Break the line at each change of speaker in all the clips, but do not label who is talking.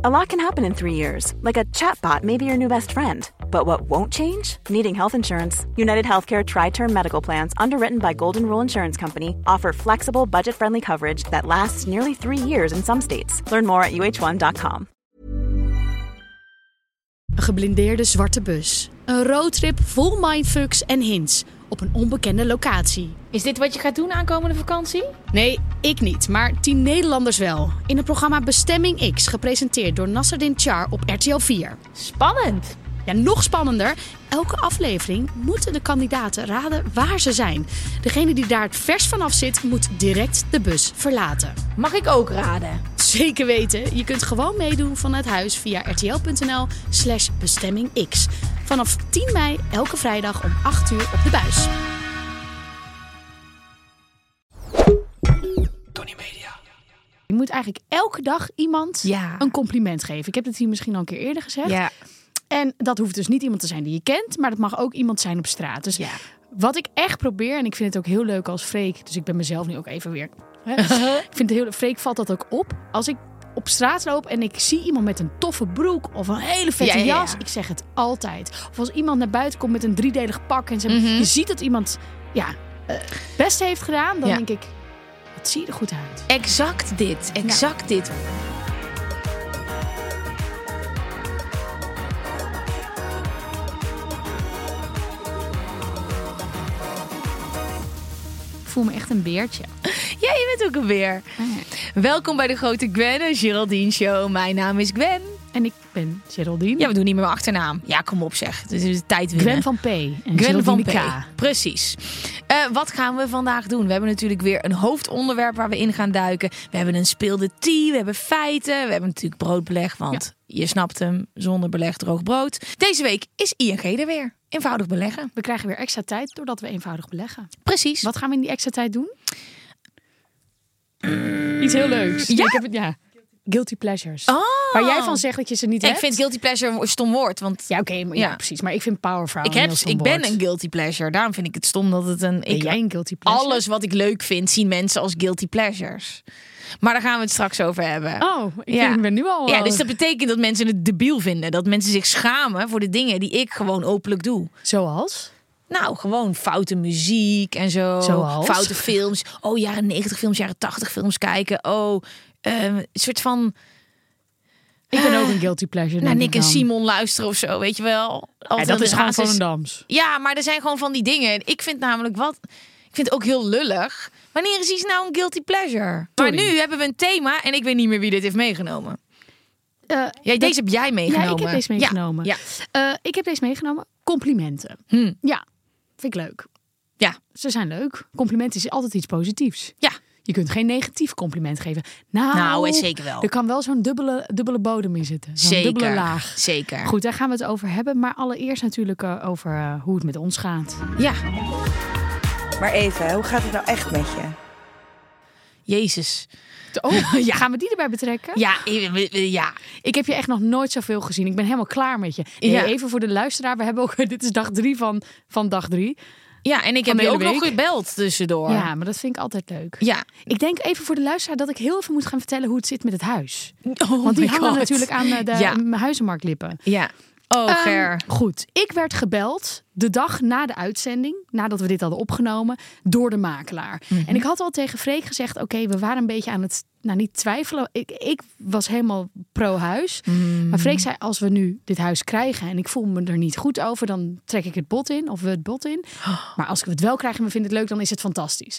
A lot can happen in three years, like a chatbot may be your new best friend. But what won't change? Needing health insurance. United Healthcare Tri Term Medical Plans, underwritten by Golden Rule Insurance Company, offer flexible, budget friendly coverage that lasts nearly three years in some states. Learn more at uh1.com.
Een geblindeerde zwarte bus. Een roadtrip vol mindfucks en hints op een onbekende locatie.
Is dit wat je gaat doen aankomende vakantie?
Nee, ik niet, maar tien Nederlanders wel. In het programma Bestemming X, gepresenteerd door Nasserdin Char op RTL 4.
Spannend!
Ja, nog spannender. Elke aflevering moeten de kandidaten raden waar ze zijn. Degene die daar het vers vanaf zit, moet direct de bus verlaten.
Mag ik ook raden?
Zeker weten. Je kunt gewoon meedoen vanuit huis via rtl.nl slash bestemmingx. Vanaf 10 mei elke vrijdag om 8 uur op de buis.
Tony Media.
Je moet eigenlijk elke dag iemand
Ja.
een compliment geven. Ik heb het hier misschien al een keer eerder gezegd. En dat hoeft dus niet iemand te zijn die je kent, maar dat mag ook iemand zijn op straat. Dus
Ja.
wat ik echt probeer, en ik vind het ook heel leuk als Freek, dus ik ben mezelf nu ook even weer. hè. ik vind het heel, Freek valt dat ook op. Als ik op straat loop en ik zie iemand met een toffe broek of een hele vette
Ja, ja, ja.
jas, ik zeg het altijd. Of als iemand naar buiten komt met een driedelig pak en ze,
Mhm.
je ziet dat iemand ja, eh, het beste heeft gedaan, dan
Ja.
denk ik, wat zie je er goed uit.
Exact dit, exact dit.
Ik voel me echt een beertje.
Ja, je bent ook een weer. Welkom bij de Grote Gwen en Geraldine Show. Mijn naam is Gwen.
En ik ben Geraldine.
Ja, we doen niet meer mijn achternaam. Ja, kom op zeg. Dit is de tijd winnen.
Gwen van P. En
Gwen van
Geraldine
P. Precies. Eh, wat gaan we vandaag doen? We hebben natuurlijk weer een hoofdonderwerp waar we in gaan duiken. We hebben een speelde tea, we hebben feiten, we hebben natuurlijk broodbeleg, want je snapt hem, zonder beleg droog brood. Deze week is ING er weer. Eenvoudig beleggen.
We krijgen weer extra tijd doordat we eenvoudig beleggen.
Precies.
Wat gaan we in die extra tijd doen? Iets heel leuks.
Ja?
Ik heb het, ja. Guilty pleasures.
Oh.
Waar jij van zegt dat je ze niet
Ik
hebt.
vind guilty pleasure een stom woord, want
Ja, oké, maar ja,
Ja.
precies. Maar ik vind power vrouw
ik,
een
heb,
heel stom
ik ben
woord.
een guilty pleasure. Daarom vind ik het stom dat het een...
Ben
Ik,
jij een guilty pleasure?
alles wat ik leuk vind, zien mensen als guilty pleasures. Maar daar gaan we het straks over hebben.
Oh, ik vind- ik ben nu al... eh,
Ja, dus dat betekent dat mensen het debiel vinden. Dat mensen zich schamen voor de dingen die ik gewoon openlijk doe.
Zoals?
Nou, gewoon foute muziek en zo.
Zoals?
Foute films. Oh, jaren 90 films, jaren 80 films kijken. Oh, ehm, een soort van Ah,
Ik ben ook een guilty pleasure,
naar
denk
Nick
ik
en
dan.
Simon luisteren of zo, weet je wel.
Ja,
Altijd
dat
aan de
is gewoon
basis-
Volendams.
Ja, maar er zijn gewoon van die dingen. Ik vind namelijk wat. Ik vind het ook heel lullig. Wanneer is iets nou een guilty pleasure?
Sorry.
Maar nu hebben we een thema en ik weet niet meer wie dit heeft meegenomen.
Eh,
Ja, deze heb jij meegenomen.
Ja, ik heb deze meegenomen.
Ja,
Eh, ik heb deze meegenomen. Complimenten.
Hmm.
Ja, vind ik leuk.
Ja.
Ze zijn leuk. Compliment is altijd iets positiefs.
Ja.
Je kunt geen negatief compliment geven. Nou,
Nou, eh, zeker wel.
Er kan wel zo'n dubbele, dubbele bodem in zitten. Zo'n
zeker.
dubbele laag.
Zeker.
Goed, daar gaan we het over hebben. Maar allereerst natuurlijk eh, over eh, hoe het met ons gaat.
Ja,
Maar even, hoe gaat het nou echt met je?
Jezus.
Oh, gaan we die erbij betrekken?
Ja, eh, eh, eh, ja.
Ik heb je echt nog nooit zoveel gezien. Ik ben helemaal klaar met je. Nee,
Ja.
Even voor de luisteraar. We hebben ook, dit is dag drie van, van dag drie.
Ja, en ik heb
de
je ook
hele
nog
week.
gebeld tussendoor.
Ja, maar dat vind ik altijd leuk.
Ja.
Ik denk even voor de luisteraar dat ik heel even moet gaan vertellen hoe het zit met het huis.
Oh
Want die
my
hangen
God.
natuurlijk aan eh, de
Ja.
m- huizenmarktlippen.
Ja. Oh,
Ehm,
Ger.
goed, ik werd gebeld de dag na de uitzending, nadat we dit hadden opgenomen, door de makelaar.
Mhm.
En ik had al tegen Freek gezegd, oké, we waren een beetje aan het, nou niet twijfelen. Ik, ik was helemaal pro-huis.
Mm.
Maar Freek zei, als we nu dit huis krijgen en ik voel me er niet goed over, dan trek ik het bot in of we het bot in. Maar als ik het wel krijg en we vinden het leuk, dan is het fantastisch.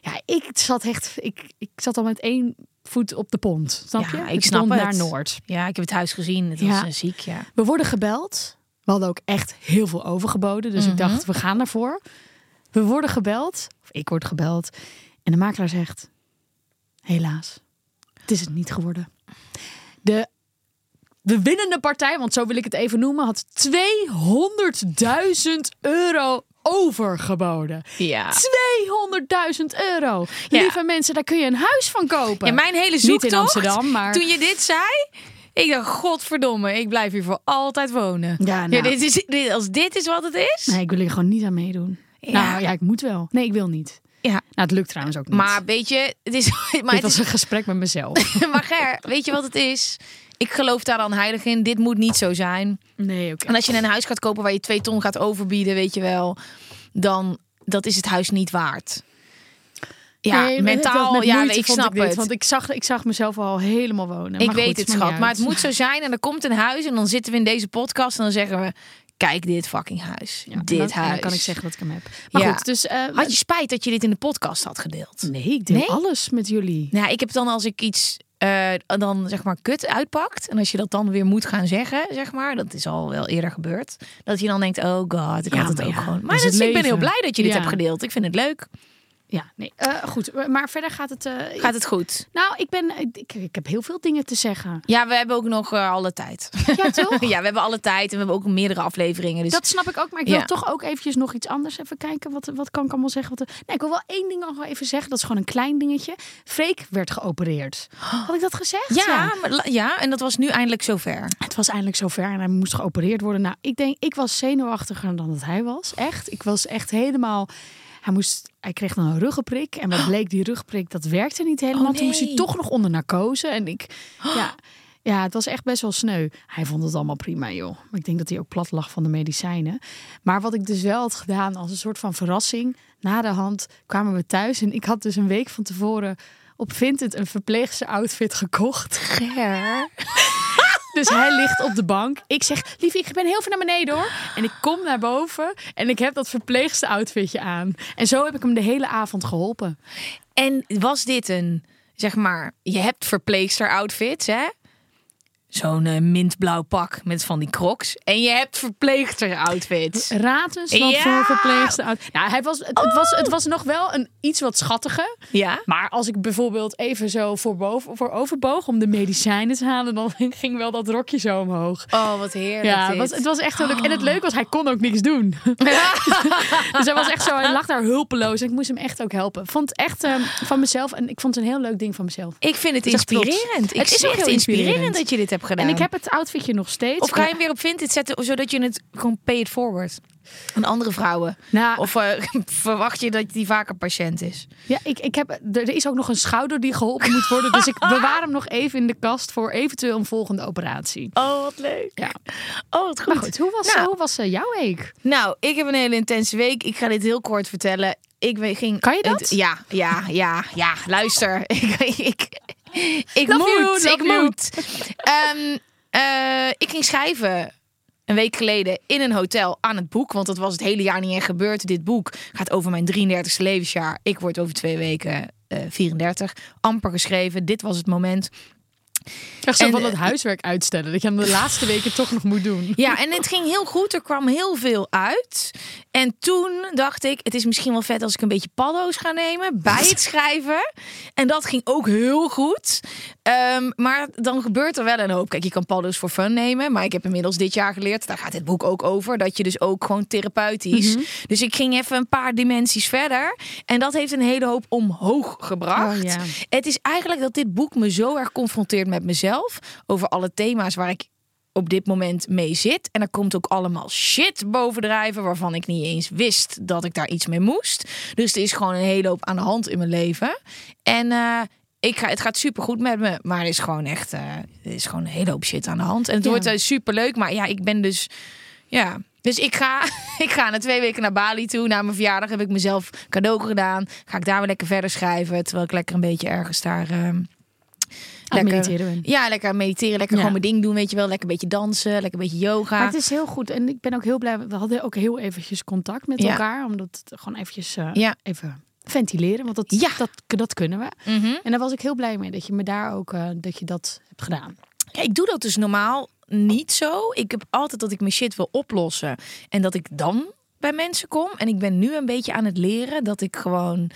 Ja, ik zat echt, ik, ik zat al met één voet op de pont, snap
Ja,
je?
ik
Het
snap
pont
het.
naar Noord.
Ja, ik heb het huis gezien. Het was
Ja.
eh, ziek, ja.
We worden gebeld. We hadden ook echt heel veel overgeboden. Dus
Mhm.
ik dacht, we gaan ervoor. We worden gebeld. Of ik word gebeld. En de makelaar zegt, helaas, het is het niet geworden. De, de winnende partij, want zo wil ik het even noemen, had 200.000 euro overgeboden.
Ja.
200.000 euro.
Ja.
Lieve mensen, daar kun je een huis van kopen.
Ja, mijn hele
Niet
zoektocht.
in Amsterdam, maar...
Toen je dit zei, ik dacht, godverdomme, ik blijf hier voor altijd wonen.
Ja, nou.
dit is, dit, als dit is wat het is.
Nee, ik wil hier gewoon niet aan meedoen.
Ja.
Nou ja, ik moet wel. Nee, ik wil niet.
Ja.
Nou, het lukt trouwens ook niet.
Maar weet je, het is... Maar
dit
het
was
is
een gesprek met mezelf.
maar Ger, weet je wat het is? Ik geloof daar dan heilig in. Dit moet niet zo zijn.
Nee, oké.
En als je een huis gaat kopen waar je twee ton gaat overbieden, weet je wel, dan dat is het huis niet waard. Ja,
Nee, maar het was
mentaal,
met
ja,
moeite
nee, ik
vond
snap
dit,
het.
Want ik zag, ik zag mezelf al helemaal wonen.
ik
Maar goed,
weet het,
maakt niet
schat. Maar
uit.
het moet zo zijn. En er komt een huis en dan zitten we in deze podcast en dan zeggen we, kijk dit fucking huis.
Ja, en
dit
dan, en
huis.
Dan kan ik zeggen dat ik hem heb. Maar
Ja.
goed, dus... eh,
Had je spijt dat je dit in de podcast had gedeeld?
Nee, ik deel
Nee?
alles met jullie.
Mm. Nou, ik heb dan als ik iets eh, dan zeg maar kut uitpakt en als je dat dan weer moet gaan zeggen, zeg maar, dat is al wel eerder gebeurd, dat je dan denkt, oh god, ik
Ja,
had het
maar
ook
ja,
gewoon.
dat
Maar
is
dat
het
is- ik ben heel
leven.
blij dat je dit
Ja.
hebt gedeeld. Ik vind het leuk.
Ja, nee. Eh, goed, maar verder gaat het... eh,
Gaat het goed?
Nou, ik ben... Ik, ik heb heel veel dingen te zeggen.
Ja, we hebben ook nog eh, alle tijd.
Ja, toch?
ja, we hebben alle tijd en we hebben ook meerdere afleveringen. Dus
Oh. Dat snap ik ook, maar ik wil
Ja.
toch ook eventjes nog iets anders even kijken. Wat, wat kan ik allemaal zeggen? Wat, er- nee, ik wil wel één ding nog wel even zeggen. Dat is gewoon een klein dingetje. Freek werd geopereerd. Had ik dat gezegd?
Oh. ja, maar la- ja, en dat was nu eindelijk zover.
Het was eindelijk zover en hij moest geopereerd worden. Nou, ik denk, ik was zenuwachtiger dan dat hij was. Echt. Ik was echt helemaal. Hij, moest, hij kreeg dan een ruggenprik. En wat bleek, die ruggenprik, dat werkte niet helemaal.
Oh,
Toen moest hij
nee. Oh.
toch nog onder narcose. En ik, ja, ja, het was echt best wel sneu. Hij vond het allemaal prima, joh. Maar ik denk dat hij ook plat lag van de medicijnen. Maar wat ik dus wel had gedaan als een soort van verrassing. Na de hand kwamen we thuis. En ik had dus een week van tevoren op Vinted een verpleegse outfit gekocht. Dus hij ligt op de bank. Ik zeg, lief, ik ben heel veel naar beneden hoor. En ik kom naar boven en ik heb dat verpleegste outfitje aan. En zo heb ik hem de hele avond geholpen.
En was dit een, zeg maar, je hebt verpleegster outfits, hè? Zo'n eh, mintblauw pak met van die crocs. En je hebt verpleegster outfits.
Raad eens wat
Ja!
voor verpleegste outfit. Nou, hij was, het, het was, het was nog wel een iets wat schattige.
Ja?
Maar als ik bijvoorbeeld even zo voor, boven, voor overboog om de medicijnen te halen... dan ging wel dat rokje zo omhoog.
Oh, wat heerlijk
Ja,
dit.
het was, het was echt heel leuk. En
Oh.
het leuke was, hij kon ook niks doen. dus hij was echt zo, hij lag daar hulpeloos. En ik moest hem echt ook helpen. Ik vond het echt ehm, van mezelf, en ik vond het een heel leuk ding van mezelf.
Ik vind het
is echt trots.
inspirerend. Ik
Het is
zeg,
ook heel inspirerend.
dat je dit hebt gedaan.
En ik heb het outfitje nog steeds.
Of ga je hem weer op Vinted zetten, zodat je het gewoon pay it forward aan andere vrouwen?
Nou,
Of eh, verwacht je dat die vaker patiënt is?
ja, ik, ik heb, er er is ook nog een schouder die geholpen moet worden. Dus ik bewaar hem nog even in de kast voor eventueel een volgende operatie.
Oh, wat leuk.
Ja.
Oh, wat
Maar goed, hoe was,
Nou.
hoe was eh, jouw week?
Nou, ik heb een hele intense week. Ik ga dit heel kort vertellen. Ik we- ging.
Kan je dat?
Het- ja, ja, ja, ja. Luister. ik, ik, ik
Love
moet.
you, love
ik
you.
moet. Ehm, eh, ik ging schrijven. Een week geleden in een hotel aan het boek. Want dat was het hele jaar niet echt gebeurd. Dit boek gaat over mijn 33ste levensjaar. Ik word over twee weken eh, 34. Amper geschreven. Dit was het moment.
Echt zo
En,
van dat
eh,
huiswerk uitstellen. Dat je hem de laatste weken toch nog moet doen.
Ja, en het ging heel goed. Er kwam heel veel uit. En toen dacht ik, het is misschien wel vet als ik een beetje paddo's ga nemen bij het schrijven. En dat ging ook heel goed. Ehm, maar dan gebeurt er wel een hoop. Kijk, je kan paddo's voor fun nemen. Maar ik heb inmiddels dit jaar geleerd, daar gaat dit boek ook over, dat je dus ook gewoon therapeutisch.
Mhm.
Dus ik ging even een paar dimensies verder. En dat heeft een hele hoop omhoog gebracht.
Oh, ja.
Het is eigenlijk dat dit boek me zo erg confronteert met mezelf. Over alle thema's waar ik op dit moment mee zit. En er komt ook allemaal shit bovendrijven... waarvan ik niet eens wist dat ik daar iets mee moest. Dus er is gewoon een hele hoop aan de hand in mijn leven. En eh, ik ga, het gaat supergoed met me. Maar er is gewoon echt eh, er is gewoon een hele hoop shit aan de hand. En het
Ja.
wordt eh, superleuk. Maar ja, ik ben dus... Ja, dus ik ga, ik ga na twee weken naar Bali toe. Na mijn verjaardag heb ik mezelf cadeau gedaan. Ga ik daar weer lekker verder schrijven. Terwijl ik lekker een beetje ergens daar... eh,
Aan het mediteren ben.
Ja, lekker aan mediteren.
Ja.
Lekker gewoon mijn ding doen, weet je wel. Lekker een beetje dansen, lekker een beetje yoga.
Maar het is heel goed. En ik ben ook heel blij. We hadden ook heel eventjes contact met
Ja.
elkaar. Omdat het gewoon eventjes eh,
Ja.
even ventileren. Want dat,
Ja.
dat, dat kunnen we.
Mhm.
En daar was ik heel blij mee. Dat je me daar ook eh, dat je dat hebt gedaan.
Ja, ik doe dat dus normaal niet zo. Ik heb altijd dat ik mijn shit wil oplossen. En dat ik dan bij mensen kom. En ik ben nu een beetje aan het leren dat ik gewoon...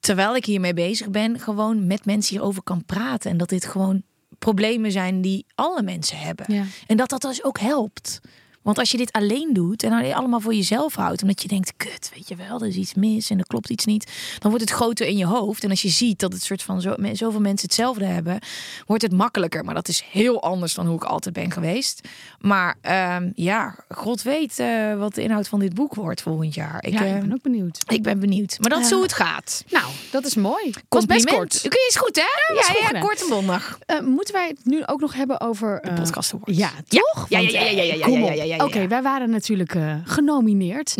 terwijl ik hiermee bezig ben, gewoon met mensen hierover kan praten. En dat dit gewoon problemen zijn die alle mensen hebben.
Ja.
En dat dat dus ook helpt. Want als je dit alleen doet en alleen allemaal voor jezelf houdt, omdat je denkt, kut, weet je wel, er is iets mis en er klopt iets niet, dan wordt het groter in je hoofd. En als je ziet dat het soort van zo, me- zoveel mensen hetzelfde hebben, wordt het makkelijker. Maar dat is heel anders dan hoe ik altijd ben geweest. Maar ehm, ja, God weet eh, wat de inhoud van dit boek wordt volgend jaar. Ik,
ja,
ehm,
ik ben ook benieuwd.
ik ben benieuwd. Maar dat is hoe het gaat.
Nou, dat is mooi. Was best
Compliment.
kort.
Oké, is goed hè?
is
Ja,
goed
ja,
gedaan.
kort en bondig.
Eh, moeten wij het nu ook nog hebben over... eh,
Podcast Awards.
Ja, toch?
Ja,
Want,
ja, ja, ja, ja, ja,
eh, kom
ja,
op.
ja, ja, ja, ja.
Oké, wij waren natuurlijk eh, genomineerd.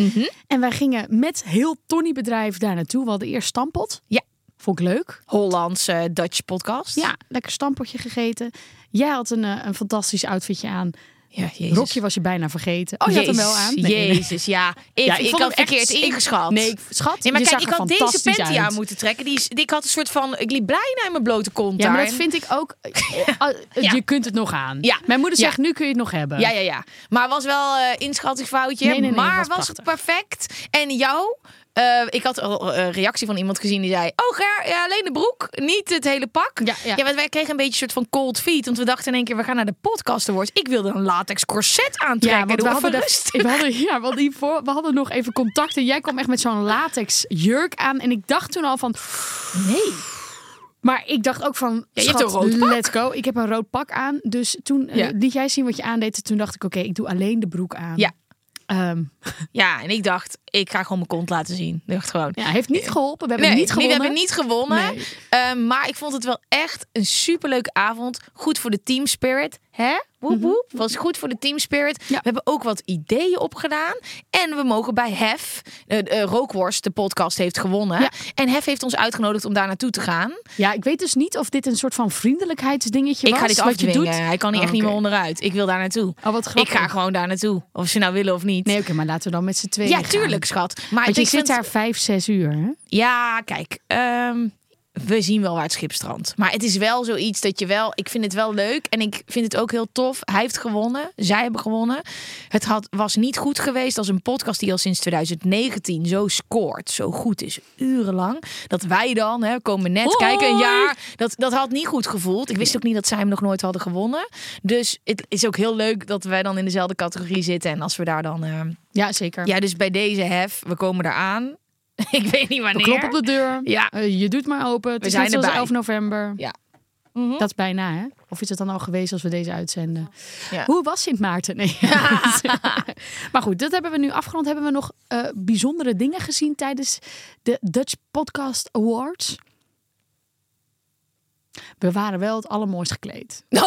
En wij gingen met heel Tony bedrijf daar naartoe. We hadden eerst stampot.
Ja.
Vond ik leuk.
Hollandse Dutch podcast.
Ja, lekker stampotje gegeten. Jij had een, eh, een fantastisch outfitje aan.
ja jezus.
Rokje was je bijna vergeten. Oh, je had hem wel aan. Nee, nee, nee.
Jezus, ja. Ik,
Ja,
ik,
vond
had
hem echt-
verkeerd
ik-
ingeschat.
Nee, ik- schat,
Nee, maar
je
kijk,
zag
ik
er
had deze
fantastisch
panty
uit.
aan moeten trekken. Die is, ik had een soort van, ik liep bijna in mijn blote kont
Ja, maar
daar.
dat vind ik ook. eh, eh, Je kunt het nog aan.
Ja.
Mijn moeder
Ja.
zegt, nu kun je het nog hebben.
Ja, ja, ja. Maar was wel eh inschattingsfoutje.
Nee, nee, nee,
maar
was
was, het perfect. En jou? Eh, ik had al een reactie van iemand gezien die zei... Oh Ger, ja, alleen de broek, niet het hele pak.
Ja, ja.
want wij kregen een beetje een soort van cold feet. Want we dachten in één keer, we gaan naar de podcast awards. Ik wilde een latex corset aantrekken.
Ja, want we
Doe
hadden,
even
dat,
rustig.
we hadden, ja, want hiervoor, we hadden nog even contact. En jij kwam echt met zo'n latex jurk aan. En ik dacht toen al van. Nee. Maar ik dacht ook van.
je hebt
schat,
een rood pak.
Let's go. Ik heb een rood pak aan. Dus toen eh,
Ja.
liet jij zien wat je aandeed. Toen dacht ik, oké, ik doe alleen de broek aan.
Ja.
Ehm,
Ja, en ik dacht, ik ga gewoon mijn kont laten zien. Ik dacht gewoon...
ja, heeft niet geholpen. We hebben
Nee,
niet
nee,
gewonnen.
we hebben niet gewonnen.
Nee.
Eh, maar ik vond het wel echt een superleuke avond. Goed voor de team spirit. Hè? Woep woep. Was goed voor de team spirit.
Ja.
We hebben ook wat ideeën opgedaan. En we mogen bij Hef, eh eh, Rookworst, de podcast, heeft gewonnen.
Ja.
En Hef heeft ons uitgenodigd om daar naartoe te gaan.
Ja, ik weet dus niet of dit een soort van vriendelijkheidsdingetje
Ik
was.
ga dit
wat je
afdwingen.
doet.
Hij kan hier
Oh,
echt niet meer
oké.
onderuit. Ik wil daar naartoe.
Oh, wat
ik
grappig.
ga gewoon daar naartoe. Of ze nou willen of niet.
Nee, oké, maar laten we dan met z'n tweeën
ja,
gaan.
tuurlijk, schat. Maar
Want je
ik
zit
vind-
daar vijf, zes uur, hè?
Ja, kijk. ehm, we zien wel waar het schip strandt. Maar het is wel zoiets dat je wel... Ik vind het wel leuk en ik vind het ook heel tof. Hij heeft gewonnen. Zij hebben gewonnen. Het had, was niet goed geweest als een podcast die al sinds 2019 zo scoort. Zo goed is, urenlang. Dat wij dan hè, komen net
Hoi!
kijken, een jaar. Dat, dat had niet goed gevoeld. Ik wist ook niet dat zij hem nog nooit hadden gewonnen. Dus het is ook heel leuk dat wij dan in dezelfde categorie zitten. En als we daar dan... ehm,
Ja, zeker.
ja, dus bij deze hef, we komen eraan. ik weet niet wanneer.
Klop op de deur.
Ja.
Eh, je doet maar open. Het
We
is net
zijn
zoals
erbij.
11 november. Mhm.
Ja.
Dat is bijna, hè? Of is het dan al geweest als we deze uitzenden?
Ja.
Hoe was Sint Maarten? Nee. maar goed, dat hebben we nu afgerond. Hebben we nog eh, bijzondere dingen gezien tijdens de Dutch Podcast Awards? We waren wel het allermooist gekleed.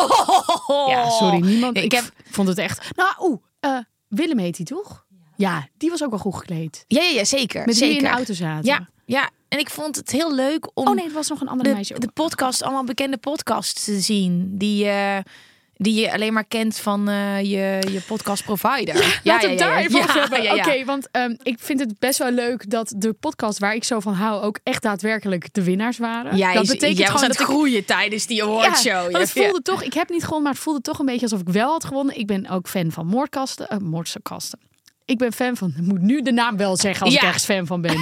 Ja, sorry, niemand.
Ik,
Ik,
heb.
vond het echt. Nou, oeh, eh, Willem heet die toch? Ja, die was ook wel goed gekleed.
Ja, ja, ja, zeker.
Met wie
zeker.
in de auto zaten.
Ja, ja, en ik vond het heel leuk om
Oh nee, het was nog een andere meisje.
de,
ook.
de podcast, allemaal bekende podcasts te zien. Die, eh, die je alleen maar kent van eh, je, je podcast provider. Ja,
Laat
ja,
het
ja,
daar
ja.
even over
Ja,
hebben.
ja, ja.
Oké, want ehm, ik vind het best wel leuk dat de podcast waar ik zo van hou ook echt daadwerkelijk de winnaars waren.
Jij,
dat betekent
jij was
gewoon
aan het
dat ik.
groeien tijdens die awardshow.
Ja, want
Ja,
het voelde toch, ik heb niet gewonnen, maar het voelde toch een beetje alsof ik wel had gewonnen. Ik ben ook fan van moordkasten, eh, moordkasten. Ik ben fan van, ik moet nu de naam wel zeggen als ik
Ja.
ergens fan van ben.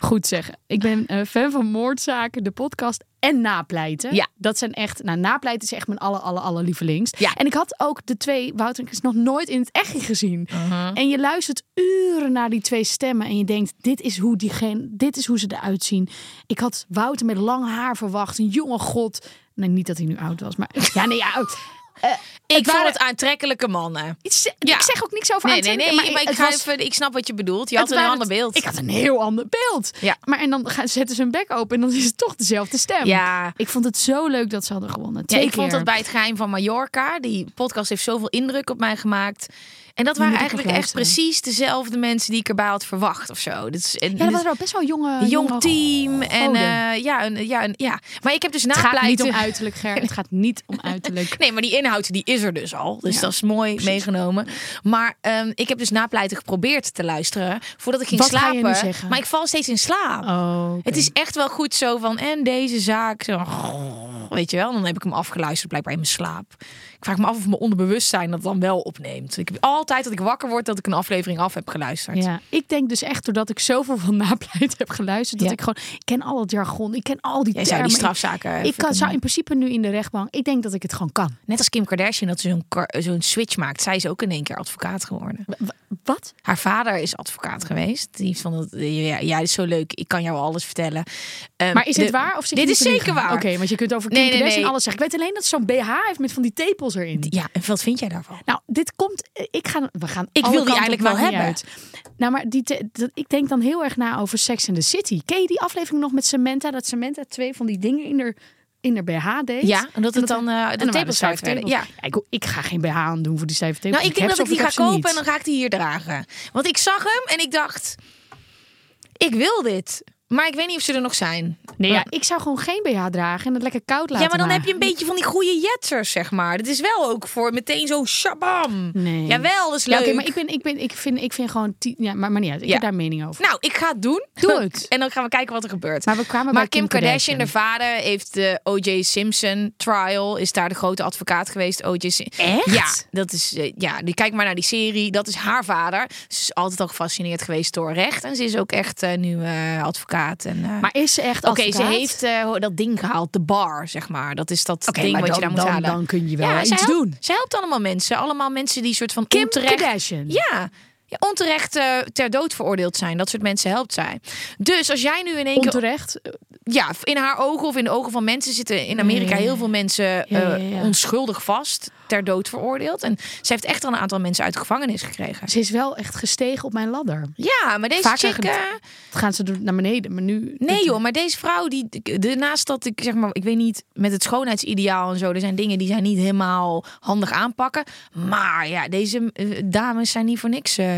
Goed zeggen. Ik ben eh, fan van moordzaken, de podcast en napleiten.
Ja.
Dat zijn echt, nou napleiten is echt mijn alle, alle, alle lievelings.
Ja.
En ik had ook de twee Wouter en Chris nog nooit in het echt gezien.
Uh-huh.
En je luistert uren naar die twee stemmen en je denkt, dit is hoe diegene, dit is hoe ze eruit zien. Ik had Wouter met lang haar verwacht, een jonge god. Nee, niet dat hij nu oud was, maar ja, nee, ja. ook. Eh, het
ik vond
waren-
het aantrekkelijke mannen.
iets-
Ja.
Ik zeg ook niks over
Nee, nee, nee.
aantrekkelijk,
Maar,
maar
ik,
het
ga
was-
even, ik snap wat je bedoelt. Je had
het
een
waren-
ander beeld.
Ik had een heel ander beeld.
Ja.
Maar en dan gaan, zetten ze hun bek open en dan is het toch dezelfde stem.
Ja.
Ik vond het zo leuk dat ze hadden gewonnen.
Ja,
Twee
ik vond
keer.
dat bij het geheim van Mallorca. Die podcast heeft zoveel indruk op mij gemaakt. En dat
moet
waren
ik nog
eigenlijk echt
luisteren.
precies dezelfde mensen die ik erbij had verwacht of zo. Dit is en-
Ja, dat
dit
was wel best wel jonge,
een jong
jonge
team en
goden.
eh, ja, een, ja, een, ja. Maar ik heb dus
Oh, Het gaat niet om
napleiten.
uiterlijk, Ger. Het gaat niet om uiterlijk.
Nee, maar die inhoud die is er dus al. Dus dat is mooi meegenomen. Maar ehm, ik heb dus napleiten geprobeerd te luisteren voordat ik ging
Wat ga je
slapen.
nu zeggen?
Maar ik val steeds in slaap.
Oh,
Het is echt wel goed zo van en deze zaak. Zo. nog, weet je wel. Dan heb ik hem afgeluisterd blijkbaar in mijn slaap. Ik vraag me af of mijn onderbewustzijn dat dan wel opneemt. Ik heb altijd dat ik wakker word dat ik een aflevering af heb geluisterd.
Ja, ik denk dus echt doordat ik zoveel van Napleit heb geluisterd, dat
Ja.
ik gewoon, ik ken al het jargon, ik ken al die
Jij zou
termen.
die strafzaken...
ik ik kan,
even kunnen-
zou in principe nu in de rechtbank, ik denk dat ik het gewoon kan.
Net als Kim Kardashian dat ze zo'n kar- zo'n switch maakt. Zij is ook in één keer advocaat geworden.
W- wat?
Haar vader is advocaat geweest. Die van dat ja, ja, dit is zo leuk. Ik kan jou alles vertellen. Ehm,
Maar is
de-
dit waar? Of zit
dit
je
is
te liegen?
zeker waar.
Oké, want je kunt over Kim
Nee, nee,
Kardashian
nee.
alles zeggen. Ik weet alleen dat ze zo'n BH heeft met van die tepels erin.
Ja, en wat vind jij daarvan?
Nou, dit komt. eh, Ik ga. We gaan.
Ik
alle
wil die
kanten
eigenlijk
op,
wel
maakt niet
hebben.
uit. Nou, maar die te- dat, ik denk dan heel erg na over Sex in the City. Ken je die aflevering nog met Samantha? Dat Samantha twee van die dingen in haar, in haar BH deed.
Ja, en dat het dan, eh, de
waren
tepels
stijve
zout werden.
tepels. ik, ik ga geen BH aan doen voor die stijve tepels.
Nou, ik denk
heb
dat ik
ze
die
of
ga
heb ze
kopen
niet.
en dan ga ik die hier dragen. Want ik zag hem en ik dacht, ik wil dit. Maar ik weet niet of ze er nog zijn.
Nee, ja, ik zou gewoon geen BH dragen en het lekker koud laten.
ja, maar dan heb je een beetje van die goede jetters, zeg maar. Dat is wel ook voor meteen zo shabam.
Nee.
Jawel, dat is
Ja,
leuk.
oké, maar ik, ben, ik, ben, ik, vind, ik vind gewoon. ti- Ja, maar, maar niet uit. Ik
Ja.
heb daar mening over.
Nou, ik ga het doen.
Doe het.
En dan gaan we kijken wat er gebeurt.
Maar we kwamen bij
Kim,
Kim
Kardashian,
Kardashian.
haar vader, heeft de O.J. Simpson trial. Is daar de grote advocaat geweest. O.J. Sim-
Echt?
Ja, dat is, eh, ja, die- kijk maar naar die serie. Dat is haar vader. Ze is altijd al gefascineerd geweest door recht. En ze is ook echt eh, nu eh, advocaat. En, eh,
Maar is ze echt.
Oké, ze
advocaat?
heeft eh, dat ding gehaald, de bar, zeg maar. Dat is dat
Oké,
ding
maar
wat
dan-
je daar moet
dan-
halen.
dan kun je wel
ja,
iets
ze helpt,
doen.
Ze helpt allemaal mensen. Allemaal mensen die soort van
Kim
onterecht...
Kardashian.
Ja, ja, onterecht eh, ter dood veroordeeld zijn. Dat soort mensen helpt zij. Dus als jij nu in één keer...
Onterecht.
Ja, in haar ogen of in de ogen van mensen zitten in Amerika heel veel mensen
ja,
eh,
ja.
onschuldig vast, ter dood veroordeeld. En ze heeft echt al een aantal mensen uit de gevangenis gekregen.
Ze is wel echt gestegen op mijn ladder.
Ja, maar deze
Vaker
chick...
ged-
eh,
Dat gaan ze door- naar beneden, maar nu...
Nee joh, maar deze vrouw, die, de, naast dat ik zeg maar, ik weet niet, met het schoonheidsideaal en zo, er zijn dingen die zij niet helemaal handig aanpakken. Maar ja, deze eh, dames zijn niet voor niks eh,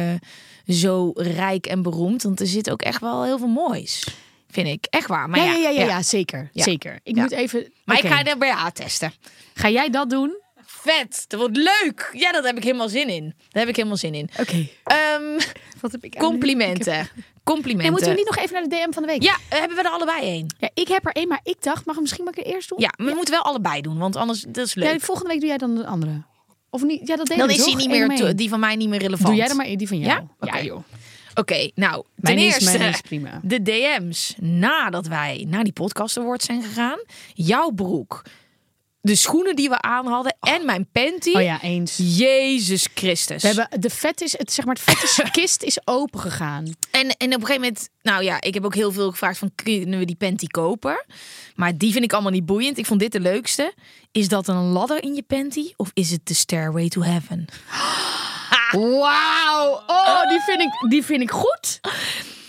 zo rijk en beroemd, want er zit ook echt wel heel veel moois, vind ik. Echt waar. Maar
Ja,
ja,
ja, ja, ja, ja, zeker.
Ja.
Zeker. Ik
Ja.
moet even...
Maar
Oké.
ik ga de BA testen.
Ga jij dat doen?
Vet, dat wordt leuk. Ja, dat heb ik helemaal zin in. Daar heb ik helemaal zin in.
Oké.
Ehm,
Wat heb ik aan- Ik
complimenten.
heb-
Complimenten.
Nee, moeten we niet nog even naar de DM van de week?
Ja, eh, hebben we er allebei één?
Ja, ik heb er één, maar ik dacht, mag ik misschien maar ik er eerst doen?
Ja, maar we moeten wel allebei doen, want anders dat is leuk.
Ja, volgende week doe jij dan de andere. Of niet? Ja, dat deed
Dan
ik,
is die
toch?
niet
Eén
meer
om één.
te- die van mij niet meer relevant.
Doe jij er maar één, die van jou.
Ja? Oké.
joh.
Oké, nou,
Mijn
ten
is-
eerste
mijn is prima.
de DM's nadat wij naar die podcast awards zijn gegaan. Jouw broek, de schoenen die we aan hadden en mijn panty.
Oh ja, eens.
Jezus Christus.
We hebben de vet is, het, zeg maar, het vetische kist is open gegaan.
En, en op een gegeven moment, nou ja, ik heb ook heel veel gevraagd van kunnen we die panty kopen? Maar die vind ik allemaal niet boeiend. Ik vond dit de leukste. Is dat een ladder in je panty of is het de stairway to heaven?
Wauw! Oh, die vind, ik, die vind ik goed.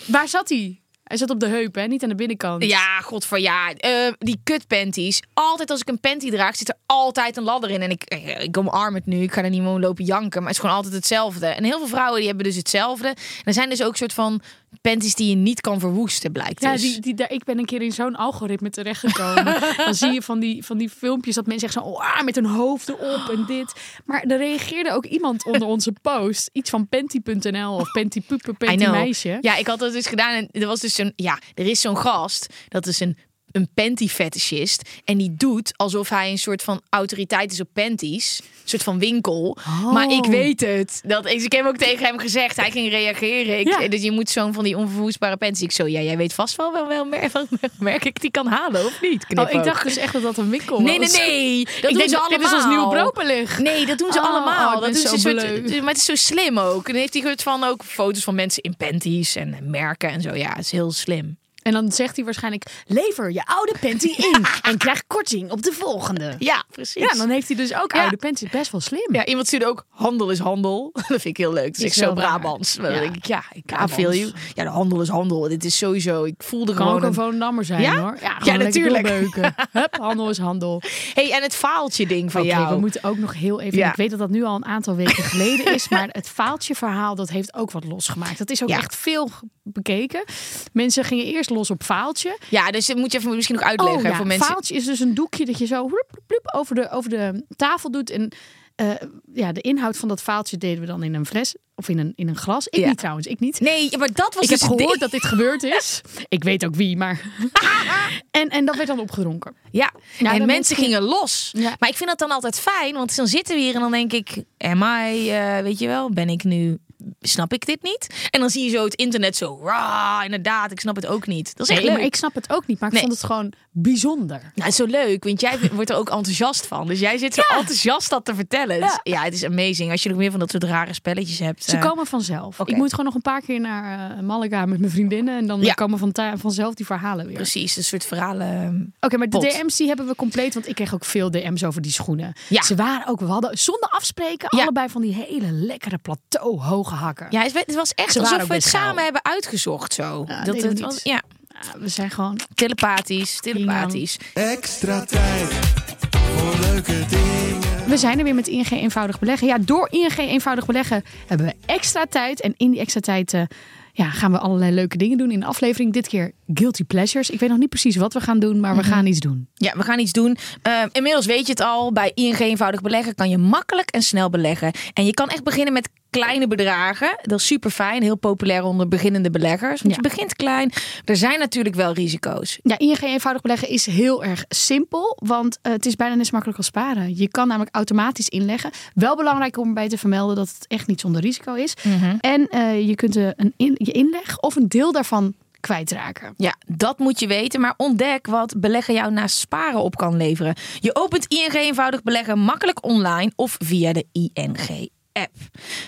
Waar zat hij? Hij zat op de heup, hè? Niet aan de binnenkant.
Ja, godver ja. Eh, die kutpanties. Altijd als ik een panty draag, zit er altijd een ladder in. En ik, eh, ik omarm het nu. Ik ga er niet gewoon lopen janken. Maar het is gewoon altijd hetzelfde. En heel veel vrouwen die hebben dus hetzelfde. En er zijn dus ook soort van panties die je niet kan verwoesten, blijkt
Ja,
dus.
die, die, daar, ik ben een keer in zo'n algoritme terechtgekomen. Dan zie je van die, van die filmpjes dat mensen echt zo oh, ah, met hun hoofd erop en dit. Maar er reageerde ook iemand onder onze post. Iets van panty.nl of Oh, pantypuppen,
I know.
pantymeisje.
Ja, ik had dat dus gedaan. En er was dus een. Ja, er is zo'n gast. Dat is een. Een panty fetishist. En die doet alsof hij een soort van autoriteit is op panties. Een soort van winkel. Maar ik weet het. Dat, ik, ik heb ook tegen hem gezegd. Hij ging reageren. Ik,
Ja.
Dus je moet zo'n van die onverwoestbare panties. Ik zo, ja, jij weet vast wel wel, wel mer- van welk merk ik die kan halen of niet. Knip
Oh, ik
ook.
dacht dus echt dat dat een winkel was.
Nee, nee, nee. Dat
ik
doen
denk,
ze allemaal.
dit is ons nieuwe broodbeleg.
Nee, dat doen ze
Oh,
allemaal.
oh, ik
dat
ben
doen
zo
ze een
bleu.
soort, eh, maar het is zo slim ook. En dan heeft hij soort van ook foto's van mensen in panties en eh, merken en zo. Ja, het is heel slim.
En dan zegt hij waarschijnlijk, lever je oude panty in en krijg korting op de volgende.
Ja, precies.
Ja, dan heeft hij dus ook
Ja.
oude panty. Best wel slim.
Ja, iemand stuurde ook handel is handel. Dat vind ik heel leuk. Dat is
Is
echt zo
wel waar.
Brabants. Maar
Ja.
dan denk ik, ja, ik I
Brabants.
feel you. Ja, de handel is handel. Dit is sowieso. Ik voelde
Kan ook
gewoon.
een
een-
Volendammer zijn
Ja?
hoor.
Ja,
gewoon lekker
natuurlijk.
doorbeuken. Hup, handel is handel.
Hey, en het faaltje ding van
Oké,
jou.
we moeten ook nog heel even.
Ja.
Ik weet dat dat nu al een aantal weken geleden is, maar het faaltje verhaal dat heeft ook wat losgemaakt. Dat is ook
Ja.
echt veel ge- bekeken. Mensen gingen eerst los op faaltje.
Ja, dus dat moet je even misschien nog uitleggen
Oh ja,
voor mensen.
faaltje is dus een doekje dat je zo bloep, bloep, bloep over de over de tafel doet en. eh, ja, de inhoud van dat vaaltje deden we dan in een fles of in een, in een glas. Ik
Ja.
niet trouwens, ik niet.
Nee, ja, maar dat was
Ik
dus
heb
het
gehoord
ding.
dat dit gebeurd is. Ik weet ook wie, maar. en, en dat werd dan opgedronken.
Ja, en
de
mensen,
mensen
gingen los.
Ja.
Maar ik vind dat dan altijd fijn, want dan zitten we hier en dan denk ik... Am I, eh, weet je wel, ben ik nu... Snap ik dit niet? En dan zie je zo het internet zo... Rah, inderdaad, ik snap het ook niet. Dat is echt
Nee,
leuk.
maar ik snap het ook niet, maar ik
Nee.
vond het gewoon bijzonder.
Nou, het is zo leuk, want jij wordt er ook enthousiast van. Dus jij zit zo enthousiast dat te vertellen. Dus,
Ja.
Ja. het is amazing. Als je nog meer van dat soort rare spelletjes hebt.
Ze
eh,
komen vanzelf.
Oké.
Ik moet gewoon nog een paar keer naar eh, Malaga met mijn vriendinnen. En dan
Ja.
komen van, vanzelf die verhalen weer.
Precies, een soort verhalen.
Oké, maar de
Pot.
DM's die hebben we compleet. Want ik kreeg ook veel DM's over die schoenen.
Ja.
Ze waren ook, we hadden zonder afspreken
Ja.
allebei van die hele lekkere plateau hoge hakken.
Ja, het, het was echt
Ze waren
alsof
ook
we het
best geil.
samen hebben uitgezocht zo.
Ja, deden we
het
niet.
was, ja,
Ja, We zijn gewoon
telepathisch, telepathisch.
Extra tijd voor leuke dingen.
We zijn er weer met ING Eenvoudig Beleggen. Ja, door ING Eenvoudig Beleggen hebben we extra tijd. En in die extra tijd eh, ja, gaan we allerlei leuke dingen doen in de aflevering. Dit keer Guilty Pleasures. Ik weet nog niet precies wat we gaan doen, maar we gaan iets doen.
Ja, we gaan iets doen. Eh, inmiddels weet je het al. Bij ING eenvoudig beleggen kan je makkelijk en snel beleggen. En je kan echt beginnen met kleine bedragen. Dat is super fijn. Heel populair onder beginnende beleggers. Want
Ja.
je begint klein. Er zijn natuurlijk wel risico's.
Ja, ING Eenvoudig Beleggen is heel erg simpel. Want eh, het is bijna net zo makkelijk als sparen. Je kan namelijk automatisch inleggen. Wel belangrijk om bij te vermelden dat het echt niet zonder risico is. En eh, je kunt eh, een in- je inleg of een deel daarvan kwijtraken.
Ja, dat moet je weten. Maar ontdek wat beleggen jou naast sparen op kan leveren. Je opent ING eenvoudig beleggen makkelijk online of via de ING-app.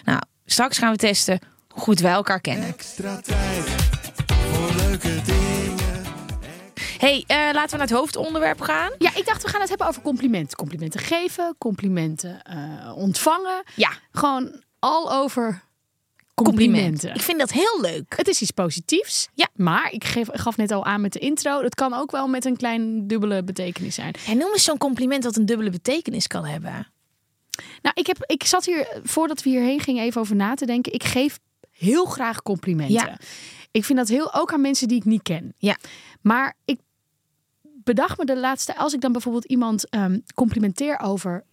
Nou, straks gaan we testen hoe goed wij elkaar kennen.
Extra tijd voor leuke dingen.
hey, eh, laten we naar het hoofdonderwerp gaan.
Ja, ik dacht we gaan het hebben over complimenten. Complimenten geven, complimenten eh, ontvangen.
Ja,
Gewoon al over complimenten.
complimenten. Ik vind dat heel leuk.
Het is iets positiefs.
Ja.
Maar ik geef, gaf net al aan met de intro. Het kan ook wel met een klein dubbele betekenis zijn.
En noem eens zo'n compliment dat een dubbele betekenis kan hebben.
Nou, ik, heb, ik zat hier, eh, voordat we hierheen gingen, even over na te denken. Ik geef heel graag complimenten.
Ja.
Ik vind dat heel, ook aan mensen die ik niet ken.
Ja.
Maar ik bedacht me de laatste, als ik dan bijvoorbeeld iemand ehm, complimenteer over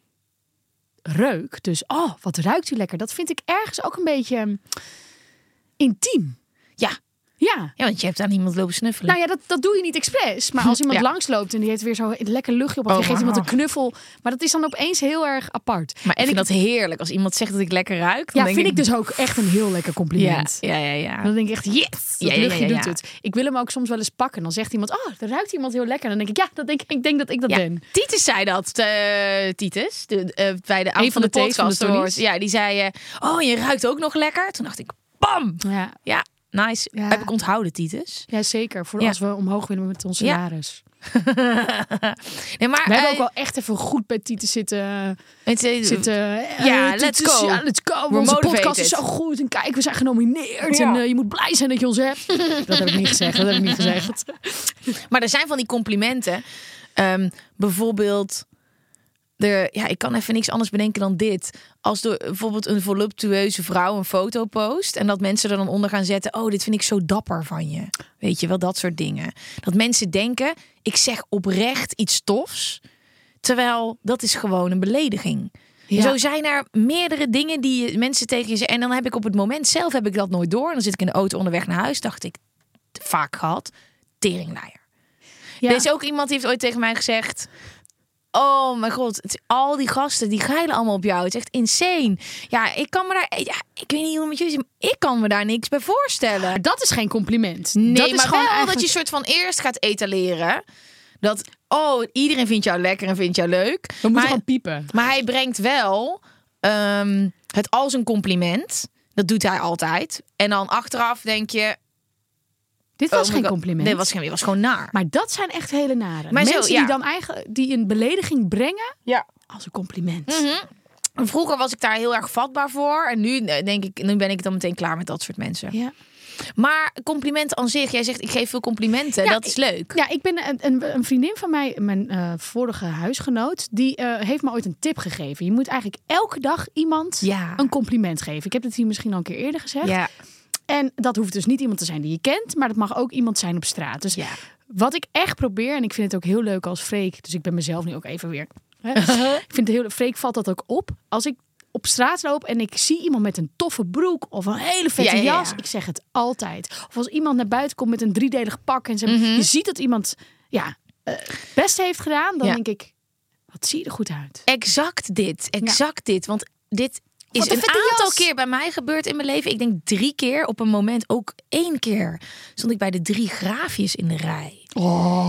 reuk. Dus, oh, wat ruikt u lekker. Dat vind ik ergens ook een beetje ehm, intiem.
Ja,
Ja.
ja want je hebt aan iemand lopen snuffelen.
Nou ja, dat, dat doe je niet expres. Maar als iemand
Ja.
langsloopt en die heeft weer zo'n lekker luchtje op. Of
Oh,
je geeft iemand een
wauw.
knuffel. Maar dat is dan opeens heel erg apart.
maar en ik vind dat heerlijk. Als iemand zegt dat ik lekker ruik, dan
Ja,
denk
vind ik dus ook echt een heel lekker
Ja,
compliment.
ja, ja.
En
ja.
Dan denk ik echt, yes, dat
Ja, ja,
luchtje
ja, ja.
doet het. Ik wil hem ook soms wel eens pakken. Dan zegt iemand, oh, er ruikt iemand heel lekker. En dan denk ik, ja, dat denk, ik- ik denk dat ik dat
Ja,
ben.
Titus zei dat, eh, Titus, de, eh, bij de
Een
avond
van
van de,
de T's van de
podcast awards.
Tonys.
Ja, die zei, eh, oh, je ruikt ook nog lekker. Toen dacht ik, bam!
Ja,
Ja, nice.
Ja.
Heb ik onthouden, Titus.
ja zeker. Voor
Ja.
als we omhoog willen met ons
Ja.
salaris.
Nee, maar,
We hebben
eh,
ook wel echt even goed bij Tieten zitten.
het, eh,
zitten
ja,
eh,
let's
Tieten,
go.
Ja, let's go.
We're
Onze podcast
motivated.
is zo goed. En kijk, we zijn genomineerd.
Ja.
En eh, je moet blij zijn dat je ons hebt. dat heb ik niet gezegd. Dat heb ik niet gezegd.
Maar er zijn van die complimenten. Ehm, bijvoorbeeld, de, ja, ik kan even niks anders bedenken dan dit. Als door bijvoorbeeld een voluptueuze vrouw een foto post. En dat mensen er dan onder gaan zetten. Oh, dit vind ik zo dapper van je. Weet je wel, dat soort dingen. Dat mensen denken, ik zeg oprecht iets tofs. Terwijl dat is gewoon een belediging.
Ja.
Zo zijn er meerdere dingen die je- mensen tegen je zeggen. En dan heb ik op het moment zelf heb ik dat nooit door. En dan zit ik in de auto onderweg naar huis. Dacht ik, vaak gehad, teringleier.
Ja.
Er is ook iemand die heeft ooit tegen mij gezegd... Oh mijn god, het- al die gasten die geilen allemaal op jou. Het is echt insane. Ja, ik kan me daar... Ja, ik weet niet hoe het met jullie zit, maar ik kan me daar niks bij voorstellen.
Maar dat is geen compliment.
Nee,
dat is
maar
gewoon
wel
eigenlijk...
dat je soort van eerst gaat etaleren. Dat, oh, iedereen vindt jou lekker en vindt jou leuk.
We moeten
maar, Oh,
gewoon piepen.
maar hij brengt wel ehm, het als een compliment. Dat doet hij altijd. En dan achteraf denk je...
Dit
oh
was
my
geen
god.
compliment.
Nee, was, geen- was gewoon naar.
Maar dat zijn echt hele nare.
Maar zo,
Mensen
ja.
die dan eigenlijk die een belediging brengen
Ja. Mhm.
als een compliment.
En Vroeger was ik daar heel erg vatbaar voor. En nu eh, denk ik, nu ben ik dan meteen klaar met dat soort mensen.
Ja.
Maar complimenten aan zich. Jij zegt, ik geef veel complimenten.
Ja,
dat is leuk.
ja, ik ben een, een, een vriendin van mij, mijn eh, vorige huisgenoot, die eh, heeft me ooit een tip gegeven. Je moet eigenlijk elke dag iemand
Ja.
een compliment geven. Ik heb het hier misschien al een keer eerder gezegd.
Ja.
En dat hoeft dus niet iemand te zijn die je kent, maar dat mag ook iemand zijn op straat. Dus
Ja.
wat ik echt probeer, en ik vind het ook heel leuk als Freek, dus ik ben mezelf nu ook even weer Hè? ik vind het heel, Freek valt dat ook op. Als ik op straat loop en ik zie iemand met een toffe broek of een hele vette
Ja, ja, ja.
jas, ik zeg het altijd. Of als iemand naar buiten komt met een driedelig pak en ze,
Mhm.
je ziet dat iemand ja, eh, best heeft gedaan, dan
Ja.
denk ik, wat zie je er goed uit.
Exact dit, exact dit. Want dit is
Wat een
een
vette
aantal
jas.
keer bij mij gebeurd in mijn leven. Ik denk drie keer op een moment, ook één keer, stond ik bij de drie graafjes in de rij.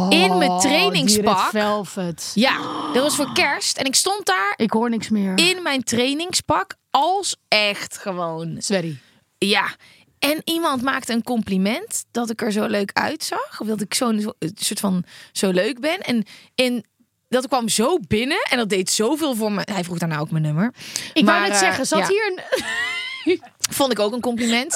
in mijn
Oh,
trainingspak.
die red velvet.
Ja, dat was voor kerst. En ik stond daar
Ik hoor niks meer.
in mijn trainingspak als echt gewoon.
Sverry.
Ja. En iemand maakte een compliment dat ik er zo leuk uitzag. Of dat ik zo'n zo- een soort van zo leuk ben. En, en dat kwam zo binnen en dat deed zoveel voor me. Hij vroeg daarna ook mijn nummer.
Ik
Maar,
wou net
eh,
zeggen, zat
ja,
hier een...
Vond ik ook een compliment.